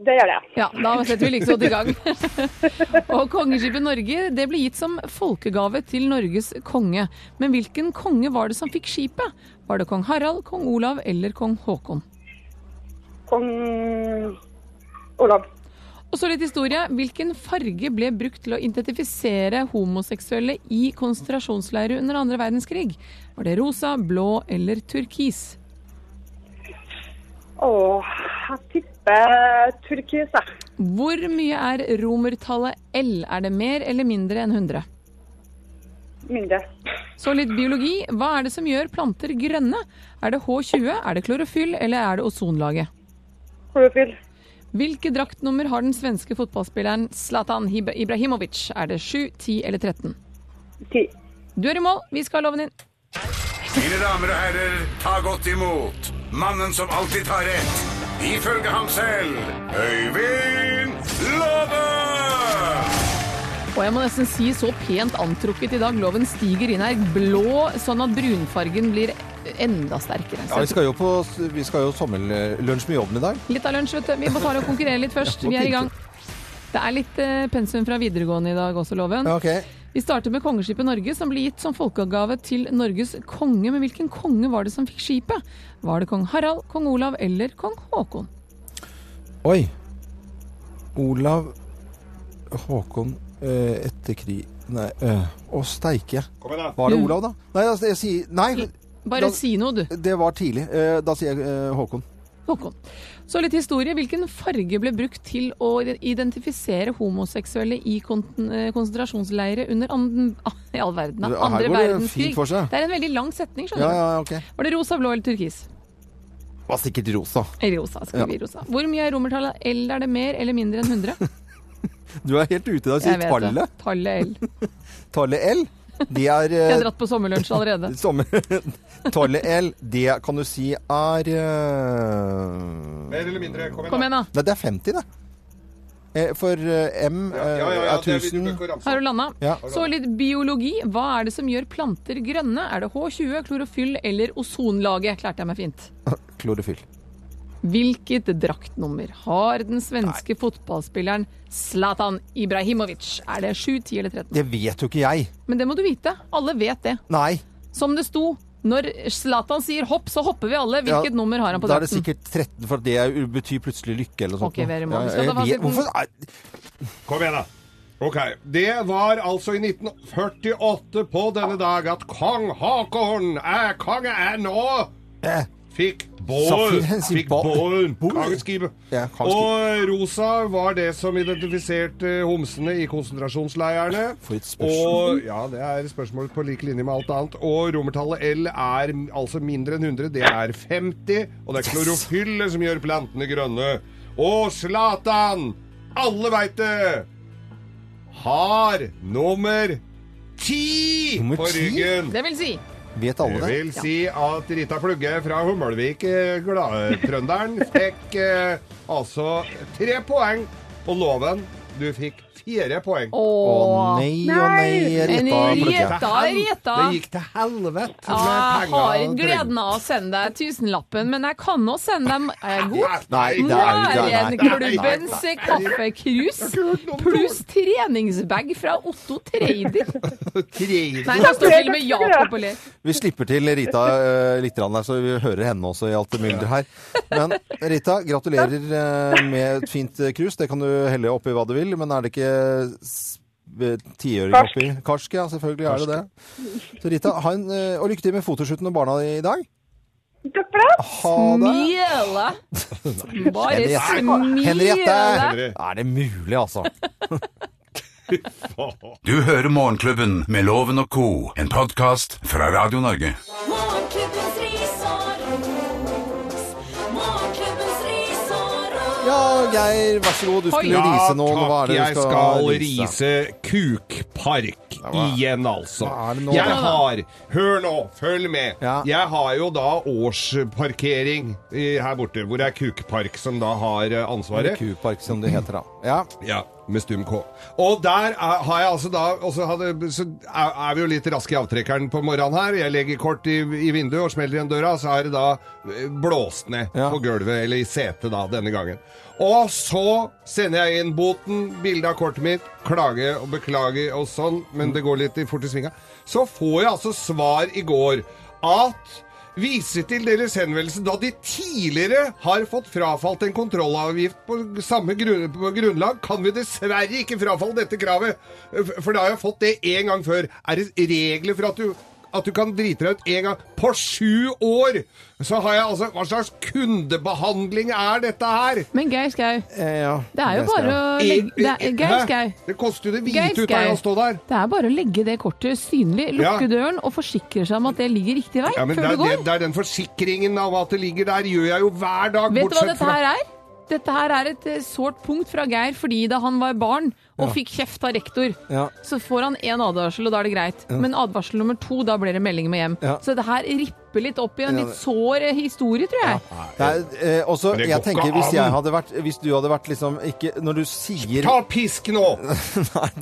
Speaker 9: Det gjør jeg.
Speaker 4: Ja, da setter vi like godt i gang. *laughs* og Kongeskipet Norge det ble gitt som folkegave til Norges konge. Men hvilken konge var det som fikk skipet? Var det kong Harald, kong Olav eller kong Haakon?
Speaker 9: Kong Olav.
Speaker 4: Og så litt historie. Hvilken farge ble brukt til å identifisere homoseksuelle i konsentrasjonsleirer under andre verdenskrig? Var det rosa, blå eller turkis?
Speaker 9: Åh, jeg tipper turkis, jeg.
Speaker 4: Hvor mye er romertallet L? Er det mer eller mindre enn 100?
Speaker 9: Mindre.
Speaker 4: Så litt biologi. Hva er det som gjør planter grønne? Er det H20, er det klorofyll eller er det ozonlaget?
Speaker 9: Klorofyll.
Speaker 4: Hvilke draktnummer har den svenske fotballspilleren Zlatan Hib- Ibrahimovic? Er det 7, 10 eller 13?
Speaker 9: Ti.
Speaker 4: Du er i mål, vi skal ha loven inn.
Speaker 2: Mine damer og herrer, ta godt imot mannen som alltid tar rett, ifølge ham selv, Øyvind Låve!
Speaker 4: Og jeg må nesten si så pent antrukket i dag. Loven stiger inn her blå, sånn at brunfargen blir enda sterkere.
Speaker 3: Ja,
Speaker 4: Så
Speaker 3: vi skal jo på vi skal jo sommerlunsj med jobben i dag.
Speaker 4: litt av lunsj, vet du. Vi må ta og konkurrere litt først. Vi er i gang. Det er litt eh, pensum fra videregående i dag også, loven.
Speaker 3: Ja, ok.
Speaker 4: Vi starter med Kongeskipet Norge, som ble gitt som folkegave til Norges konge. Men hvilken konge var det som fikk skipet? Var det kong Harald, kong Olav eller kong Haakon?
Speaker 3: Oi. Olav Håkon eh, etter krig Nei, eh, å steike.
Speaker 5: Kom igjen, da.
Speaker 3: Var det
Speaker 4: Mm.
Speaker 3: Olav, da? Nei, altså, jeg sier Nei,
Speaker 4: Bare
Speaker 3: Da-
Speaker 4: si noe, du.
Speaker 3: det var tidlig. Eh, da sier jeg eh, Håkon.
Speaker 4: Håkon. Så litt historie. Hvilken farge ble brukt til å identifisere homoseksuelle i kon- eh, konsentrasjonsleire under anden... *laughs* ah, I all verden, da.
Speaker 3: Her
Speaker 4: andre
Speaker 3: går det
Speaker 4: verdenskrig.
Speaker 3: fint for seg.
Speaker 4: Det er en veldig lang setning,
Speaker 3: Ja,
Speaker 4: skjønner du.
Speaker 3: ja, ok.
Speaker 4: Var det rosa, blå eller turkis?
Speaker 3: Var sikkert rosa.
Speaker 4: Rosa, skal vi rosa. Hvor mye er romertallet L? Er det mer eller mindre enn 100?
Speaker 3: Du er helt ute i dag. Sier tallet.
Speaker 4: det. Tallet L.
Speaker 3: Tallet L. Det er
Speaker 4: *laughs* Jeg
Speaker 3: eh,
Speaker 4: har dratt på sommerlunsj allerede.
Speaker 3: sommer... *laughs* Tallet L, det kan du si er eh,
Speaker 5: Mer eller mindre. Kom
Speaker 4: Kom
Speaker 5: igjen, da.
Speaker 4: igjen, da.
Speaker 3: Nei, det er 50, det. Eh, For eh, M eh,
Speaker 5: Ja, ja, ja, ja,
Speaker 3: er
Speaker 5: det er litt
Speaker 3: 1000.
Speaker 5: bøker å ramse
Speaker 4: Har
Speaker 5: opp.
Speaker 4: du landa?
Speaker 3: Ja.
Speaker 4: Så litt biologi. Hva er det som gjør planter grønne? Er det H20, klorofyll eller ozonlaget? Klarte jeg meg fint.
Speaker 3: *laughs* Klorofyll.
Speaker 4: Hvilket draktnummer har den svenske fotballspilleren Zlatan Ibrahimovic? Er det 7, 10 eller 13?
Speaker 3: Det vet jo ikke jeg.
Speaker 4: Men det må du vite. Alle vet det.
Speaker 3: Nei.
Speaker 4: Som det sto. Når Zlatan sier hopp, så hopper vi alle. Hvilket
Speaker 3: Ja,
Speaker 4: nummer har han på
Speaker 3: Da er det
Speaker 4: drakten?
Speaker 3: sikkert 13, for det er- betyr plutselig lykke eller noe sånt.
Speaker 4: Ok, Vere Moe, vi skal
Speaker 3: jeg
Speaker 4: ta
Speaker 3: vet-
Speaker 4: fasiten.
Speaker 3: Hvorfor er
Speaker 5: Kom igjen, da. Ok, Det var altså i 1948 på denne dag at kong Haakon er konge er nå!
Speaker 3: Eh.
Speaker 5: Fikk
Speaker 3: Safir,
Speaker 5: Bård.
Speaker 3: *laughs* han sier
Speaker 5: Fikk
Speaker 3: Bård.
Speaker 5: Bård.
Speaker 3: Bård.
Speaker 5: Kongeskipet.
Speaker 3: Ja, kongeskipet.
Speaker 5: Og rosa var det som identifiserte homsene i konsentrasjonsleirene.
Speaker 3: For et spørsmål.
Speaker 5: Og, ja, det er spørsmål på lik linje med alt annet. Og romertallet L er m- altså mindre enn 100. Det er 50. Og det er klorofyllet som gjør plantene grønne. Og Zlatan! Alle veit det! Har nummer ti
Speaker 3: Nummer
Speaker 5: på
Speaker 3: ti?
Speaker 5: ryggen.
Speaker 4: Det vil si
Speaker 3: Vet alle
Speaker 5: Det
Speaker 3: det?
Speaker 5: vil si at Rita Plugge fra Hummelvik, eh, gladtrønderen, fikk eh, altså tre poeng på loven. Du fikk fire poeng.
Speaker 3: Å
Speaker 4: Åh.
Speaker 3: nei, å nei, Rita
Speaker 4: En
Speaker 3: Plukke.
Speaker 4: Rita, Rita.
Speaker 5: Det gikk til helvete
Speaker 4: Ja, jeg Ah,
Speaker 5: penger
Speaker 4: har
Speaker 5: og
Speaker 4: ikke gleden av å sende deg tusenlappen, men jeg kan også sende deg er jeg god.
Speaker 3: Nei, det er jo det. er- nei, nei, nei.
Speaker 4: Marenklubbens kaffekrus pluss treningsbag fra Otto Treider.
Speaker 5: trønder.
Speaker 4: Nei, det står til og med Jakob på ler.
Speaker 3: Vi slipper til Rita eh, litt grann der, så vi hører henne også i alt det mylderet her. Men Rita,
Speaker 4: *laughs*
Speaker 3: gratulerer eh, med et fint eh, krus. Det kan du helle oppi hva du vil, men er det ikke s- eh, tiøring
Speaker 9: Karsk.
Speaker 3: oppi? Karsk, ja. Selvfølgelig er det det. Så Rita, ha en, eh, og lykke til med fotoshooten og barna i dag.
Speaker 9: Takk for det.
Speaker 3: Ha det.
Speaker 4: Smile! Bare
Speaker 3: Henriette!
Speaker 4: smile!
Speaker 3: Er det mulig, altså?
Speaker 2: Du hører Morgenklubben med Loven og Co., en podkast fra Radio Norge.
Speaker 1: Morgenklubbens ris og ros. Morgenklubbens ris og ros.
Speaker 3: Ja, Geir, vær så god. Du skulle
Speaker 5: Ja,
Speaker 3: rise nå. Hva er
Speaker 5: takk.
Speaker 3: det
Speaker 5: Jeg
Speaker 3: du skal,
Speaker 5: skal
Speaker 3: rise?
Speaker 5: rise kukpark igjen, altså.
Speaker 3: Hva er det nå,
Speaker 5: Jeg
Speaker 3: da?
Speaker 5: har Hør nå, følg med.
Speaker 3: Ja.
Speaker 5: Jeg har jo da årsparkering i- her borte, hvor det er kukpark som da har eh,
Speaker 3: Eller
Speaker 5: ansvaret.
Speaker 3: Kupark, som det heter, da. Ja.
Speaker 5: Ja, med stum K. Og der er, har jeg altså da Og så, hadde, så er, er vi jo litt raske i avtrekkeren på morgenen her. Jeg legger kort i, i vinduet og smeller igjen døra, så er det da eh, blåst ned
Speaker 3: Ja.
Speaker 5: på gulvet, eller i setet da, denne gangen. Og så sender jeg inn boten, bilde av kortet mitt, klage og beklage og sånn, men det går litt i- fort i svinga. Så får jeg altså svar i går at Vise til deres henvendelse da de tidligere har fått frafalt en kontrollavgift på samme grunn, på grunnlag, kan vi dessverre ikke frafalle dette kravet, f- for da har jeg fått det én gang før. Er det regler for at du, at du kan drite deg ut én gang på sju år? Så har jeg altså Hva slags kundebehandling er dette her?
Speaker 4: Men Geir Skau,
Speaker 3: Eh, ja.
Speaker 4: det er jo bare å legge det er, Geir
Speaker 5: Hæ?
Speaker 4: Skau.
Speaker 5: Det koster jo det
Speaker 4: Geir
Speaker 5: hvite ut av
Speaker 4: Skau,
Speaker 5: å stå der.
Speaker 4: det er bare å legge det kortet synlig, lukke
Speaker 5: Ja.
Speaker 4: døren og forsikre seg om at det ligger riktig vei
Speaker 5: Ja, men det
Speaker 4: før
Speaker 5: er,
Speaker 4: du går.
Speaker 5: det, det er den forsikringen av at det ligger der, gjør jeg jo hver dag.
Speaker 4: Vet du hva
Speaker 5: bortsett
Speaker 4: dette her er? Dette her er et eh, sårt punkt fra Geir fordi da han var barn og fikk kjeft av rektor,
Speaker 3: Ja.
Speaker 4: så får han én advarsel, og da er det greit. Men advarsel nummer to, da blir det melding med hjem.
Speaker 3: Ja.
Speaker 4: Så det her ripper litt opp i en litt sår eh, historie, tror jeg.
Speaker 3: Det er, eh, også,
Speaker 5: Men det
Speaker 3: jeg
Speaker 5: går ikke
Speaker 3: tenker hvis jeg
Speaker 5: an.
Speaker 3: hadde vært Hvis du hadde vært liksom ikke Når du sier
Speaker 5: Ta pisk nå!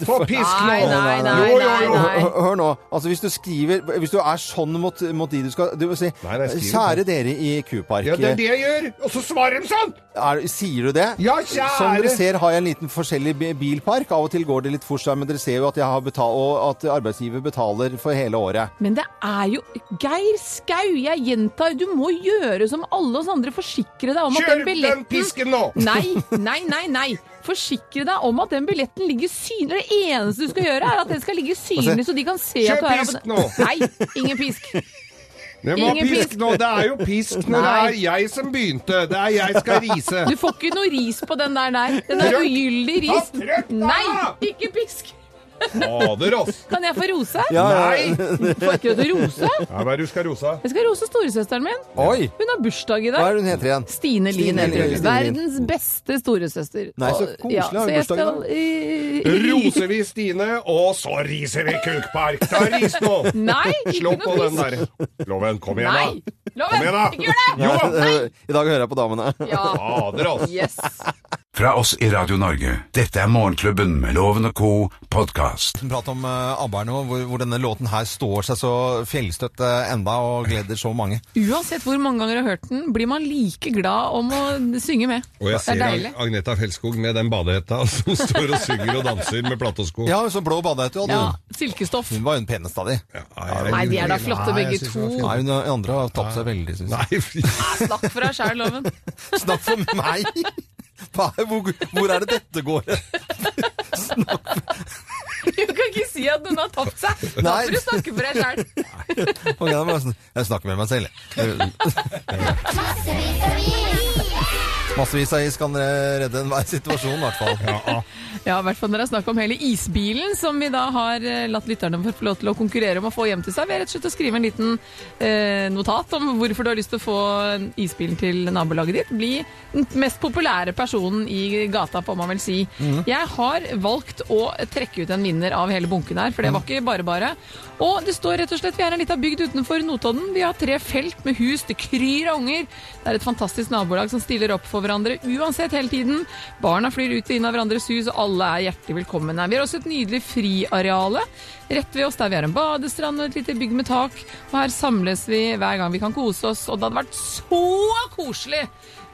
Speaker 5: Få pisk nå!
Speaker 4: Nei, nei, nei,
Speaker 5: Jo, jo,
Speaker 4: nei,
Speaker 5: jo.
Speaker 4: nei.
Speaker 3: Hør, hør nå. Altså, hvis du skriver Hvis du er sånn mot, mot de du skal Du må si
Speaker 5: Nei, nei, skriv det.
Speaker 3: Kjære dere i Kupark.
Speaker 5: Ja, det er det jeg gjør! Og så svarer de sånn!
Speaker 3: Er, sier du det?
Speaker 5: Ja, kjære!
Speaker 3: Som dere ser har jeg en liten forskjellig bi- bilpark. Av og til går det litt fort der, men dere ser jo at, jeg har betal og at arbeidsgiver betaler for hele året.
Speaker 4: Men det er jo Geir Skau, jeg gjentar, du må gjøre som alle oss andre. Forsikre deg om at
Speaker 5: Kjør
Speaker 4: den
Speaker 5: den
Speaker 4: billetten
Speaker 5: pisken nå!
Speaker 4: Nei, nei, nei, nei. Forsikre deg om at den billetten ligger synlig. Det eneste du skal gjøre, er at den skal ligge synlig, så de kan se at
Speaker 5: Kjør
Speaker 4: du er
Speaker 5: pisk
Speaker 4: abonn-
Speaker 5: nå.
Speaker 4: Nei, ingen pisk.
Speaker 5: Det må
Speaker 4: Ingen
Speaker 5: pisk
Speaker 4: pisk.
Speaker 5: nå! Det er jo
Speaker 4: *laughs*
Speaker 5: pisk nå! Det
Speaker 4: Nei.
Speaker 5: er jeg som begynte! Det er jeg skal
Speaker 4: *laughs*
Speaker 5: rise!
Speaker 4: Du får ikke noe ris på den der, nei. Den er
Speaker 5: Trykk.
Speaker 4: ugyldig ris.
Speaker 5: Ta trykk, da!
Speaker 4: Nei, ikke pisk.
Speaker 5: Fader, ass!
Speaker 4: Kan jeg få rose?
Speaker 5: Nei!
Speaker 4: *laughs* Får ikke lov til å rose?
Speaker 5: Ja, Hva er det du skal rose av?
Speaker 4: Jeg skal rose storesøsteren min.
Speaker 3: Oi!
Speaker 4: Hun har bursdag i
Speaker 3: Hva
Speaker 4: dag.
Speaker 3: er det hun heter igjen?
Speaker 4: Stine Lien
Speaker 3: Stine
Speaker 4: heter
Speaker 3: Lien.
Speaker 4: hun. Verdens beste storesøster.
Speaker 3: Nei, så
Speaker 4: Og-
Speaker 3: koselig,
Speaker 4: ja,
Speaker 3: har
Speaker 4: så
Speaker 3: hun
Speaker 4: jeg
Speaker 3: bursdag i dag.
Speaker 4: skal, eh,
Speaker 5: Roser vi Stine, og så riser vi Kukpark! Ta ris nå!
Speaker 4: Nei,
Speaker 5: *laughs* Slå
Speaker 4: ikke
Speaker 5: på
Speaker 4: noe
Speaker 5: den
Speaker 4: pisk.
Speaker 5: der. Loven, kom
Speaker 4: Nei!
Speaker 5: igjen, da! Kom
Speaker 4: Loven,
Speaker 5: igjen, da!
Speaker 4: ikke gjør
Speaker 5: *laughs*
Speaker 4: det!
Speaker 3: Eh, I dag hører jeg på *laughs* damene.
Speaker 4: Ja.
Speaker 5: Fader, ass!
Speaker 4: Yes.
Speaker 2: Fra oss i Radio Norge, dette er Morgenklubben med Loven og Co. podkast.
Speaker 3: prat om uh, ABBA nå, hvor, hvor denne låten her står seg så fjellstøtt eh, enda og gleder så mange.
Speaker 4: Uansett hvor mange ganger jeg har hørt den, blir man like glad om å synge med.
Speaker 5: Og jeg
Speaker 4: det
Speaker 5: ser
Speaker 4: er deilig.
Speaker 5: Ag- Agneta Fjeldskog med den badehetta *laughs* som står og synger og danser med platesko.
Speaker 3: Ja, så blå badehette du hadde.
Speaker 4: Ja,
Speaker 3: hun.
Speaker 4: Silkestoff.
Speaker 3: Hun var jo den peneste av de.
Speaker 4: Nei, de er da flotte begge to.
Speaker 3: Nei, hun eh, andre har tapt seg veldig, synes jeg.
Speaker 5: Nei, fy
Speaker 4: Snakk for deg sjæl, Loven. *laughs*
Speaker 3: Snakk for meg! Hva er- Hvor, hvor er det dette går? *laughs*
Speaker 4: Du kan ikke si at noen har tapt seg. Da
Speaker 3: Nei.
Speaker 4: får du snakke for deg sjæl.
Speaker 3: Ok,
Speaker 5: *laughs*
Speaker 3: da må jeg sn- jeg snakker med meg selv. jeg.
Speaker 1: Massevis av ris.
Speaker 3: Massevis av is kan eh, redde enhver situasjon, i hvert fall.
Speaker 4: Ja, i hvert fall når det er snakk om hele isbilen, som vi da har eh, latt lytterne få lov til å konkurrere om å få hjem til seg. Vi har rett og slett å skrive en liten eh, notat om hvorfor du har lyst til å få isbilen til nabolaget ditt. Bli den mest populære personen i gata, får man vel si. Jeg har valgt å trekke ut en vinner av hele bunken her, for det var ikke bare bare. Og det står rett og slett, vi er en liten bygd utenfor Notodden. Vi har tre felt med hus, det kryr av unger. Det er et fantastisk nabolag som stiller opp for hverandre uansett hele tiden. Barna flyr ut og inn av hverandres hus, og alle er hjertelig velkommen her. Vi har også et nydelig friareale rett ved oss, der vi har en badestrand og et lite bygg med tak. Og her samles vi hver gang vi kan kose oss, og det hadde vært så koselig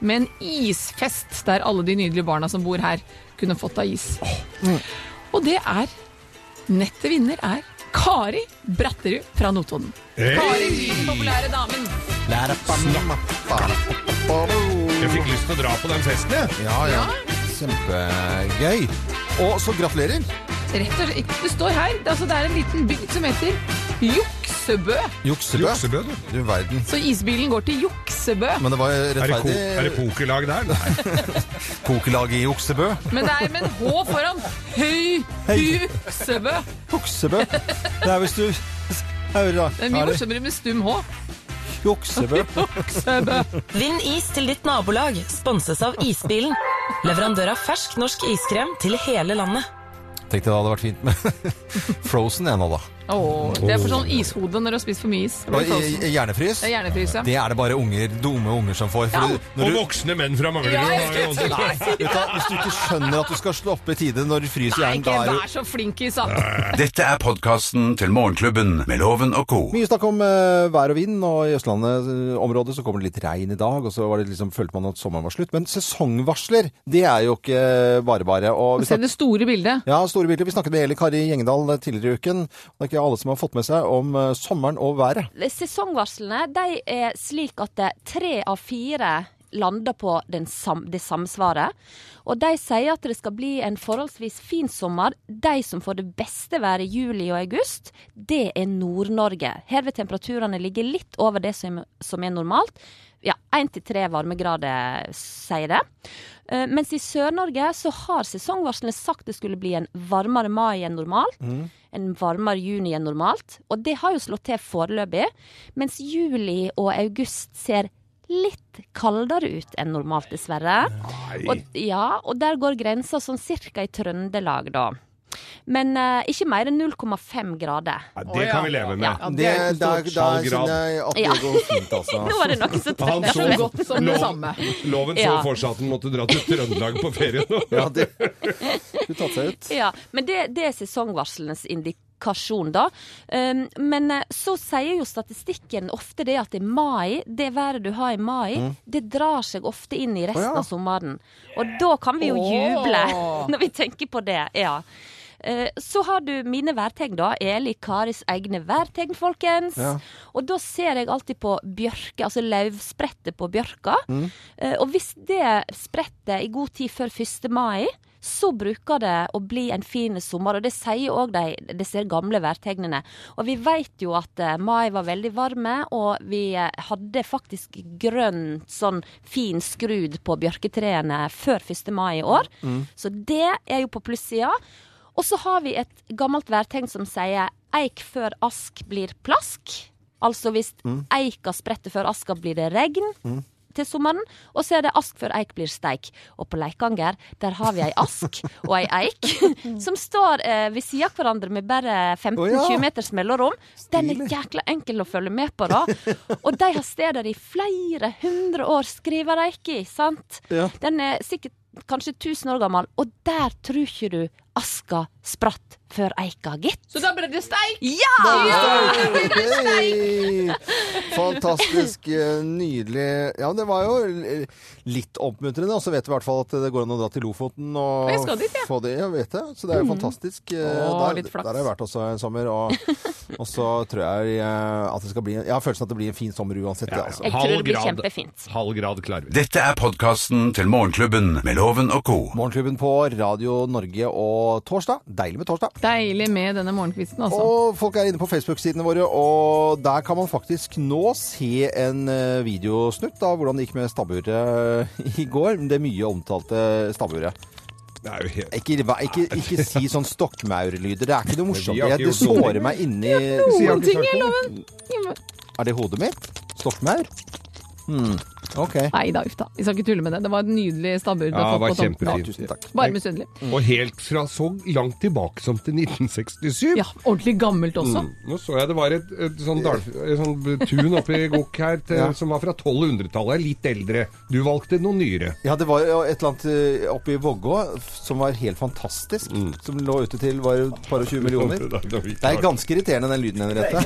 Speaker 4: med en isfest der alle de nydelige barna som bor her, kunne fått av is. Og det er Nettet vinner er Kari Bratterud fra Notodden. Kari, den populære damen.
Speaker 3: sånn-
Speaker 5: Jeg fikk lyst til å dra på den festen, jeg.
Speaker 3: Ja, ja. Kjempegøy. Og så gratulerer.
Speaker 4: Rett og slett. Det står her. Det, altså, det er en liten bygd som heter Juksebø.
Speaker 3: Juksebø.
Speaker 5: Juksebø, du.
Speaker 3: Du verden.
Speaker 4: Så isbilen går til Juksebø.
Speaker 3: Men det var
Speaker 5: Er det, ko er det
Speaker 3: rettferdig
Speaker 5: pokerlag der? Nei.
Speaker 3: pokerlag i Juksebø.
Speaker 4: Men det er med en H foran. Høy Juksebø.
Speaker 3: Juksebø. Det er hvis du Hører da.
Speaker 4: Det er mye morsommere med stum H.
Speaker 3: Juksebø.
Speaker 4: Juksebø.
Speaker 10: Vinn is til ditt nabolag, sponses av Isbilen. Leverandør av fersk norsk iskrem til hele landet.
Speaker 3: Tenkte det hadde vært fint med *laughs* Frozen ennå, da.
Speaker 4: Åh, det er for sånn ishode når du har spist for mye is. Det blir
Speaker 3: Og
Speaker 4: frossen.
Speaker 3: i- i Hjernefrys.
Speaker 4: Det er hjernefryse.
Speaker 3: Det er det bare unger, dumme unger som får. For
Speaker 4: Ja.
Speaker 3: du- når
Speaker 5: Og
Speaker 3: du,
Speaker 5: voksne menn fra Manglerud.
Speaker 4: Ja, jeg
Speaker 5: har
Speaker 4: skulle
Speaker 5: jo også-
Speaker 4: til å si.
Speaker 3: vet du, hva, hvis du ikke skjønner at du skal slå opp i tide når du fryser
Speaker 4: Nei,
Speaker 3: hjernen,
Speaker 4: ikke
Speaker 3: da er du
Speaker 4: vær så flink i sand.
Speaker 2: Dette er podkasten til Morgenklubben med Loven og co.
Speaker 3: Mye snakk om eh, vær og vind, og i Østlandet-området så kommer det litt regn i dag, og så var det liksom, følte man at sommeren var slutt. Men sesongvarsler, det er jo ikke eh, bare bare. Og vi
Speaker 4: Se det
Speaker 3: snakket,
Speaker 4: store bildet.
Speaker 3: ja, store bilder. Vi snakket med Eli Kari Gjengdal tidligere i uken. Det er ikke alle som har fått med seg om eh, sommeren og været.
Speaker 11: Sesongvarslene de er slik at det- tre av fire lander på den sam det samme svaret. Og de sier at det skal bli en forholdsvis fin sommer. De som får det beste været i juli og august, det er Nord-Norge. Her vil temperaturene ligge litt over det som, som er normalt. Ja, én til tre varmegrader, sier det. Eh, Mens i Sør-Norge så har sesongvarslene sagt det skulle bli en varmere mai enn normalt. En varmere juni enn normalt. Og det har jo slått til foreløpig. Mens juli og august ser litt kaldere ut enn normalt, dessverre. Og, ja, og der går grensa sånn cirka i Trøndelag, da. Men eh, ikke mer enn 0,5 grader.
Speaker 5: Nei, det kan vi leve med.
Speaker 4: Ja, det er ikke stort.
Speaker 3: der, der
Speaker 5: Halv grad.
Speaker 3: kjenner jeg at
Speaker 11: Ja.
Speaker 3: det går eh, fint,
Speaker 11: Nå *laughs*
Speaker 3: altså.
Speaker 11: er det noe som
Speaker 5: Han
Speaker 11: treffer
Speaker 5: så
Speaker 11: meg.
Speaker 4: Godt som det
Speaker 5: Lov-
Speaker 4: samme.
Speaker 5: Loven så
Speaker 11: Ja.
Speaker 5: for seg at den måtte dra til Trøndelag på ferie nå.
Speaker 3: Ja, det skulle tatt seg ut.
Speaker 11: Ja, men det, det er sesongvarslenes indikasjon, da. Um, men eh, så sier jo statistikken ofte det at i mai, det været du har i mai, det drar seg ofte inn i resten
Speaker 3: Mm. Å, ja.
Speaker 11: av sommeren. Og da kan vi jo juble *laughs*
Speaker 4: Åh.
Speaker 11: når vi tenker på det. ja. Eh, Så har du mine værtegn, da. Eli Karis egne værtegn, folkens.
Speaker 3: Ja.
Speaker 11: Og da ser jeg alltid på bjørke, altså løvsprettet på bjørka.
Speaker 3: Mm.
Speaker 11: Eh, Og hvis det sprettet i god tid før 1. mai, så bruker det å bli en fin sommer. Og det sier òg de, disse gamle værtegnene. Og vi vet jo at eh, mai var veldig varme, og vi eh, hadde faktisk grønn sånn fin skrud på bjørketreene før 1. mai i år. Så det er jo på plussida. Og så har vi et gammelt værtegn som sier eik før ask blir plask. Altså hvis eika spretter før aska, blir det regn. Til sommeren, og så er det ask før eik blir steik. Og på Leikanger der har vi ei ask og ei eik *laughs* som står eh, ved sida av hverandre med bare 15-20
Speaker 3: Å ja.
Speaker 11: meters mellomrom. Den er jækla enkel å følge med på, da. Og de har steder i flere hundre år, skriver de ikke, sant?
Speaker 3: Ja.
Speaker 11: Den er sikkert kanskje 1000 år gammel, og der tror ikke du aska spratt før eika, gitt.
Speaker 4: Så da ble det steik!
Speaker 3: Hei! Fantastisk, eh, nydelig. Ja, men det var jo eh, litt oppmuntrende. Og så vet vi i hvert fall at det går an å dra til Lofoten og
Speaker 4: Jeg skal dit, jeg.
Speaker 3: få det. Ja, vet det. Så det er jo fantastisk. Eh,
Speaker 4: Åh,
Speaker 3: der,
Speaker 4: litt flaks.
Speaker 3: der har jeg vært også en sommer. Og, og så tror jeg eh, at det skal bli Jeg har følelsen at det blir en fin sommer uansett. det, Altså.
Speaker 11: Jeg tror det blir kjempefint.
Speaker 5: Halv grad klarer vi.
Speaker 2: Dette er podkasten til Morgenklubben med Loven og co.
Speaker 3: Morgenklubben på Radio Norge og torsdag. Deilig med torsdag.
Speaker 4: Deilig med denne morgenkvisten, altså.
Speaker 3: Og folk er inne på Facebook-sidene våre, og der kan man faktisk nå og se en eh, videosnutt av hvordan det gikk med stabburet eh, *laughs* i går. Det mye omtalte stabburet.
Speaker 5: Det er jo helt
Speaker 3: Ikke, ikke,
Speaker 5: *laughs*
Speaker 3: ikke si sånn stokkmaurlyder. Det er ikke noe morsomt.
Speaker 5: vi har
Speaker 3: Jeg- Det
Speaker 5: ikke gjort noe.
Speaker 3: sårer meg inni
Speaker 4: Noen ting i loven!
Speaker 3: Er det hodet mitt? Stokkmaur? Hmm. OK.
Speaker 4: Nei da, uff da. Vi skal ikke tulle med det. Det var et nydelig stabbur. du
Speaker 5: Ja,
Speaker 4: har
Speaker 5: det
Speaker 4: fått
Speaker 5: var
Speaker 4: på tomten.
Speaker 3: Ja,
Speaker 5: kjempefint.
Speaker 3: tusen takk.
Speaker 4: Bare misunnelig.
Speaker 5: Og helt fra så langt tilbake som til 1967.
Speaker 4: Ja, ordentlig gammelt også.
Speaker 5: Nå så jeg det var et, et sånn, dal, et sånn tun oppe i Gokk her til, som var fra 1200-tallet, litt eldre. Du valgte noe nyere.
Speaker 3: Ja, det var jo et eller annet eh, oppe i Vågå f- som var helt fantastisk.
Speaker 5: Mm.
Speaker 3: Som lå ute til var et par og 20 millioner. Det er ganske irriterende, den lyden, Henriette.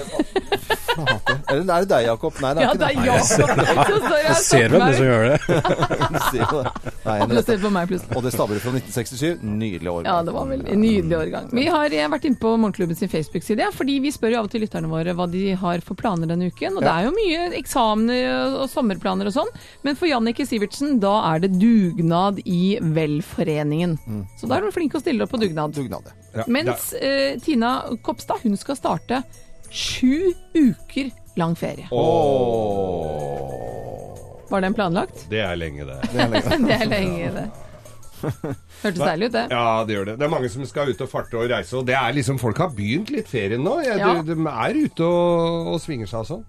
Speaker 3: *laughs* Flate. Er det, er det deg, Jakob? Nei, det
Speaker 4: Ja,
Speaker 3: er
Speaker 4: det er
Speaker 3: ikke det. *laughs*
Speaker 4: jeg som står her.
Speaker 6: Ser hvem det som gjør det?
Speaker 3: Se det. Nei, Henriette.
Speaker 4: Opplustet på meg plutselig.
Speaker 3: Og det stabber fra 1967. Nydelig år.
Speaker 4: Ja, det var vel en nydelig årgang. Vi har eh, vært inne på Morgenklubben sin Facebook-side, ja, fordi vi spør jo av og til lytterne våre hva de har for planer denne uken. Og det er jo mye eksamener og- og sommerplaner og sånn, men for Jannicke Sivertsen, da er det dugnad i velforeningen. Så da er hun flink å stille opp på dugnad.
Speaker 3: Dugnad. ja.
Speaker 5: Ja,
Speaker 4: Mens eh, Tina Kopstad, hun skal starte sju uker lang ferie. Var den planlagt?
Speaker 5: Det er lenge, det.
Speaker 4: Det er lenge, det. Hørtes deilig ut, det.
Speaker 5: Ja, det gjør det. Det er mange som skal ut og farte og reise, og det er liksom Folk har begynt litt ferien nå. Jeg,
Speaker 4: Ja.
Speaker 5: de, de er ute og, og svinger seg og sånn.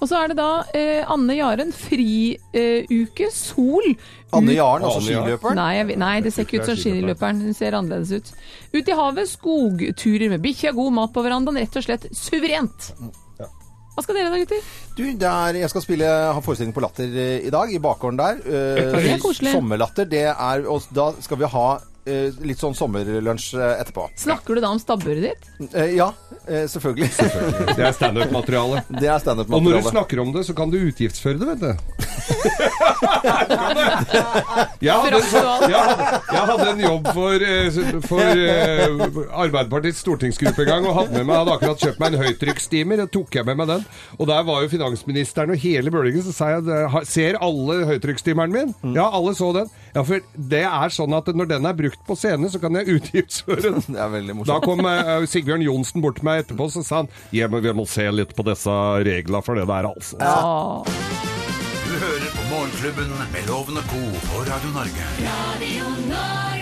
Speaker 4: Og så er det da eh, Anne Jaren, friuke, eh, uke, sol.
Speaker 3: Anne
Speaker 4: Ut-
Speaker 3: Jaren, altså
Speaker 5: Anne Jaren.
Speaker 3: skiløperen.
Speaker 4: Nei, jeg, vet- nei, det ser ikke ut som skiløperen. Hun ser annerledes ut. Ut i havet, skogturer med bikkja, god mat på verandaen. Rett og slett suverent. Hva skal dere da, gutter?
Speaker 3: Du, det er- jeg skal spille ha forestilling på Latter eh, i dag, i bakgården der. Eh,
Speaker 4: Det er koselig.
Speaker 3: Sommerlatter. Det er, og da skal vi ha eh, litt sånn sommerlunsj eh, etterpå.
Speaker 4: Snakker du da om stabburet ditt?
Speaker 3: Eh, ja, eh, selvfølgelig.
Speaker 5: Det er standup-materiale.
Speaker 3: *laughs* Det er
Speaker 5: Og når du
Speaker 3: standup-materiale.
Speaker 5: snakker om det, så kan du utgiftsføre det, vet du. jeg, hadde, en sånn- jeg, hadde, jeg hadde en jobb for, eh, s- for eh, Arbeiderpartiets stortingsgruppe en gang, og hadde med meg, hadde akkurat kjøpt meg en høytrykksstimer, og tok jeg med meg den. Og der var jo finansministeren og hele bølgen, så sa jeg "Det har- Ser alle høytrykkstimeren min? Ja, alle så den. Ja, for det er sånn at når den er brukt på scene, så kan jeg *laughs* utgiftsføre den.
Speaker 3: *laughs* Det er veldig morsomt.
Speaker 5: Da kom eh, Sigbjørn Johnsen bort til meg etterpå så sa han «Ja, men vi må se litt på disse reglene for det der, altså.
Speaker 4: Ja.
Speaker 2: Du hører på Morgenklubben med Loven og Co. på Radio Norge.
Speaker 1: Radio Norge.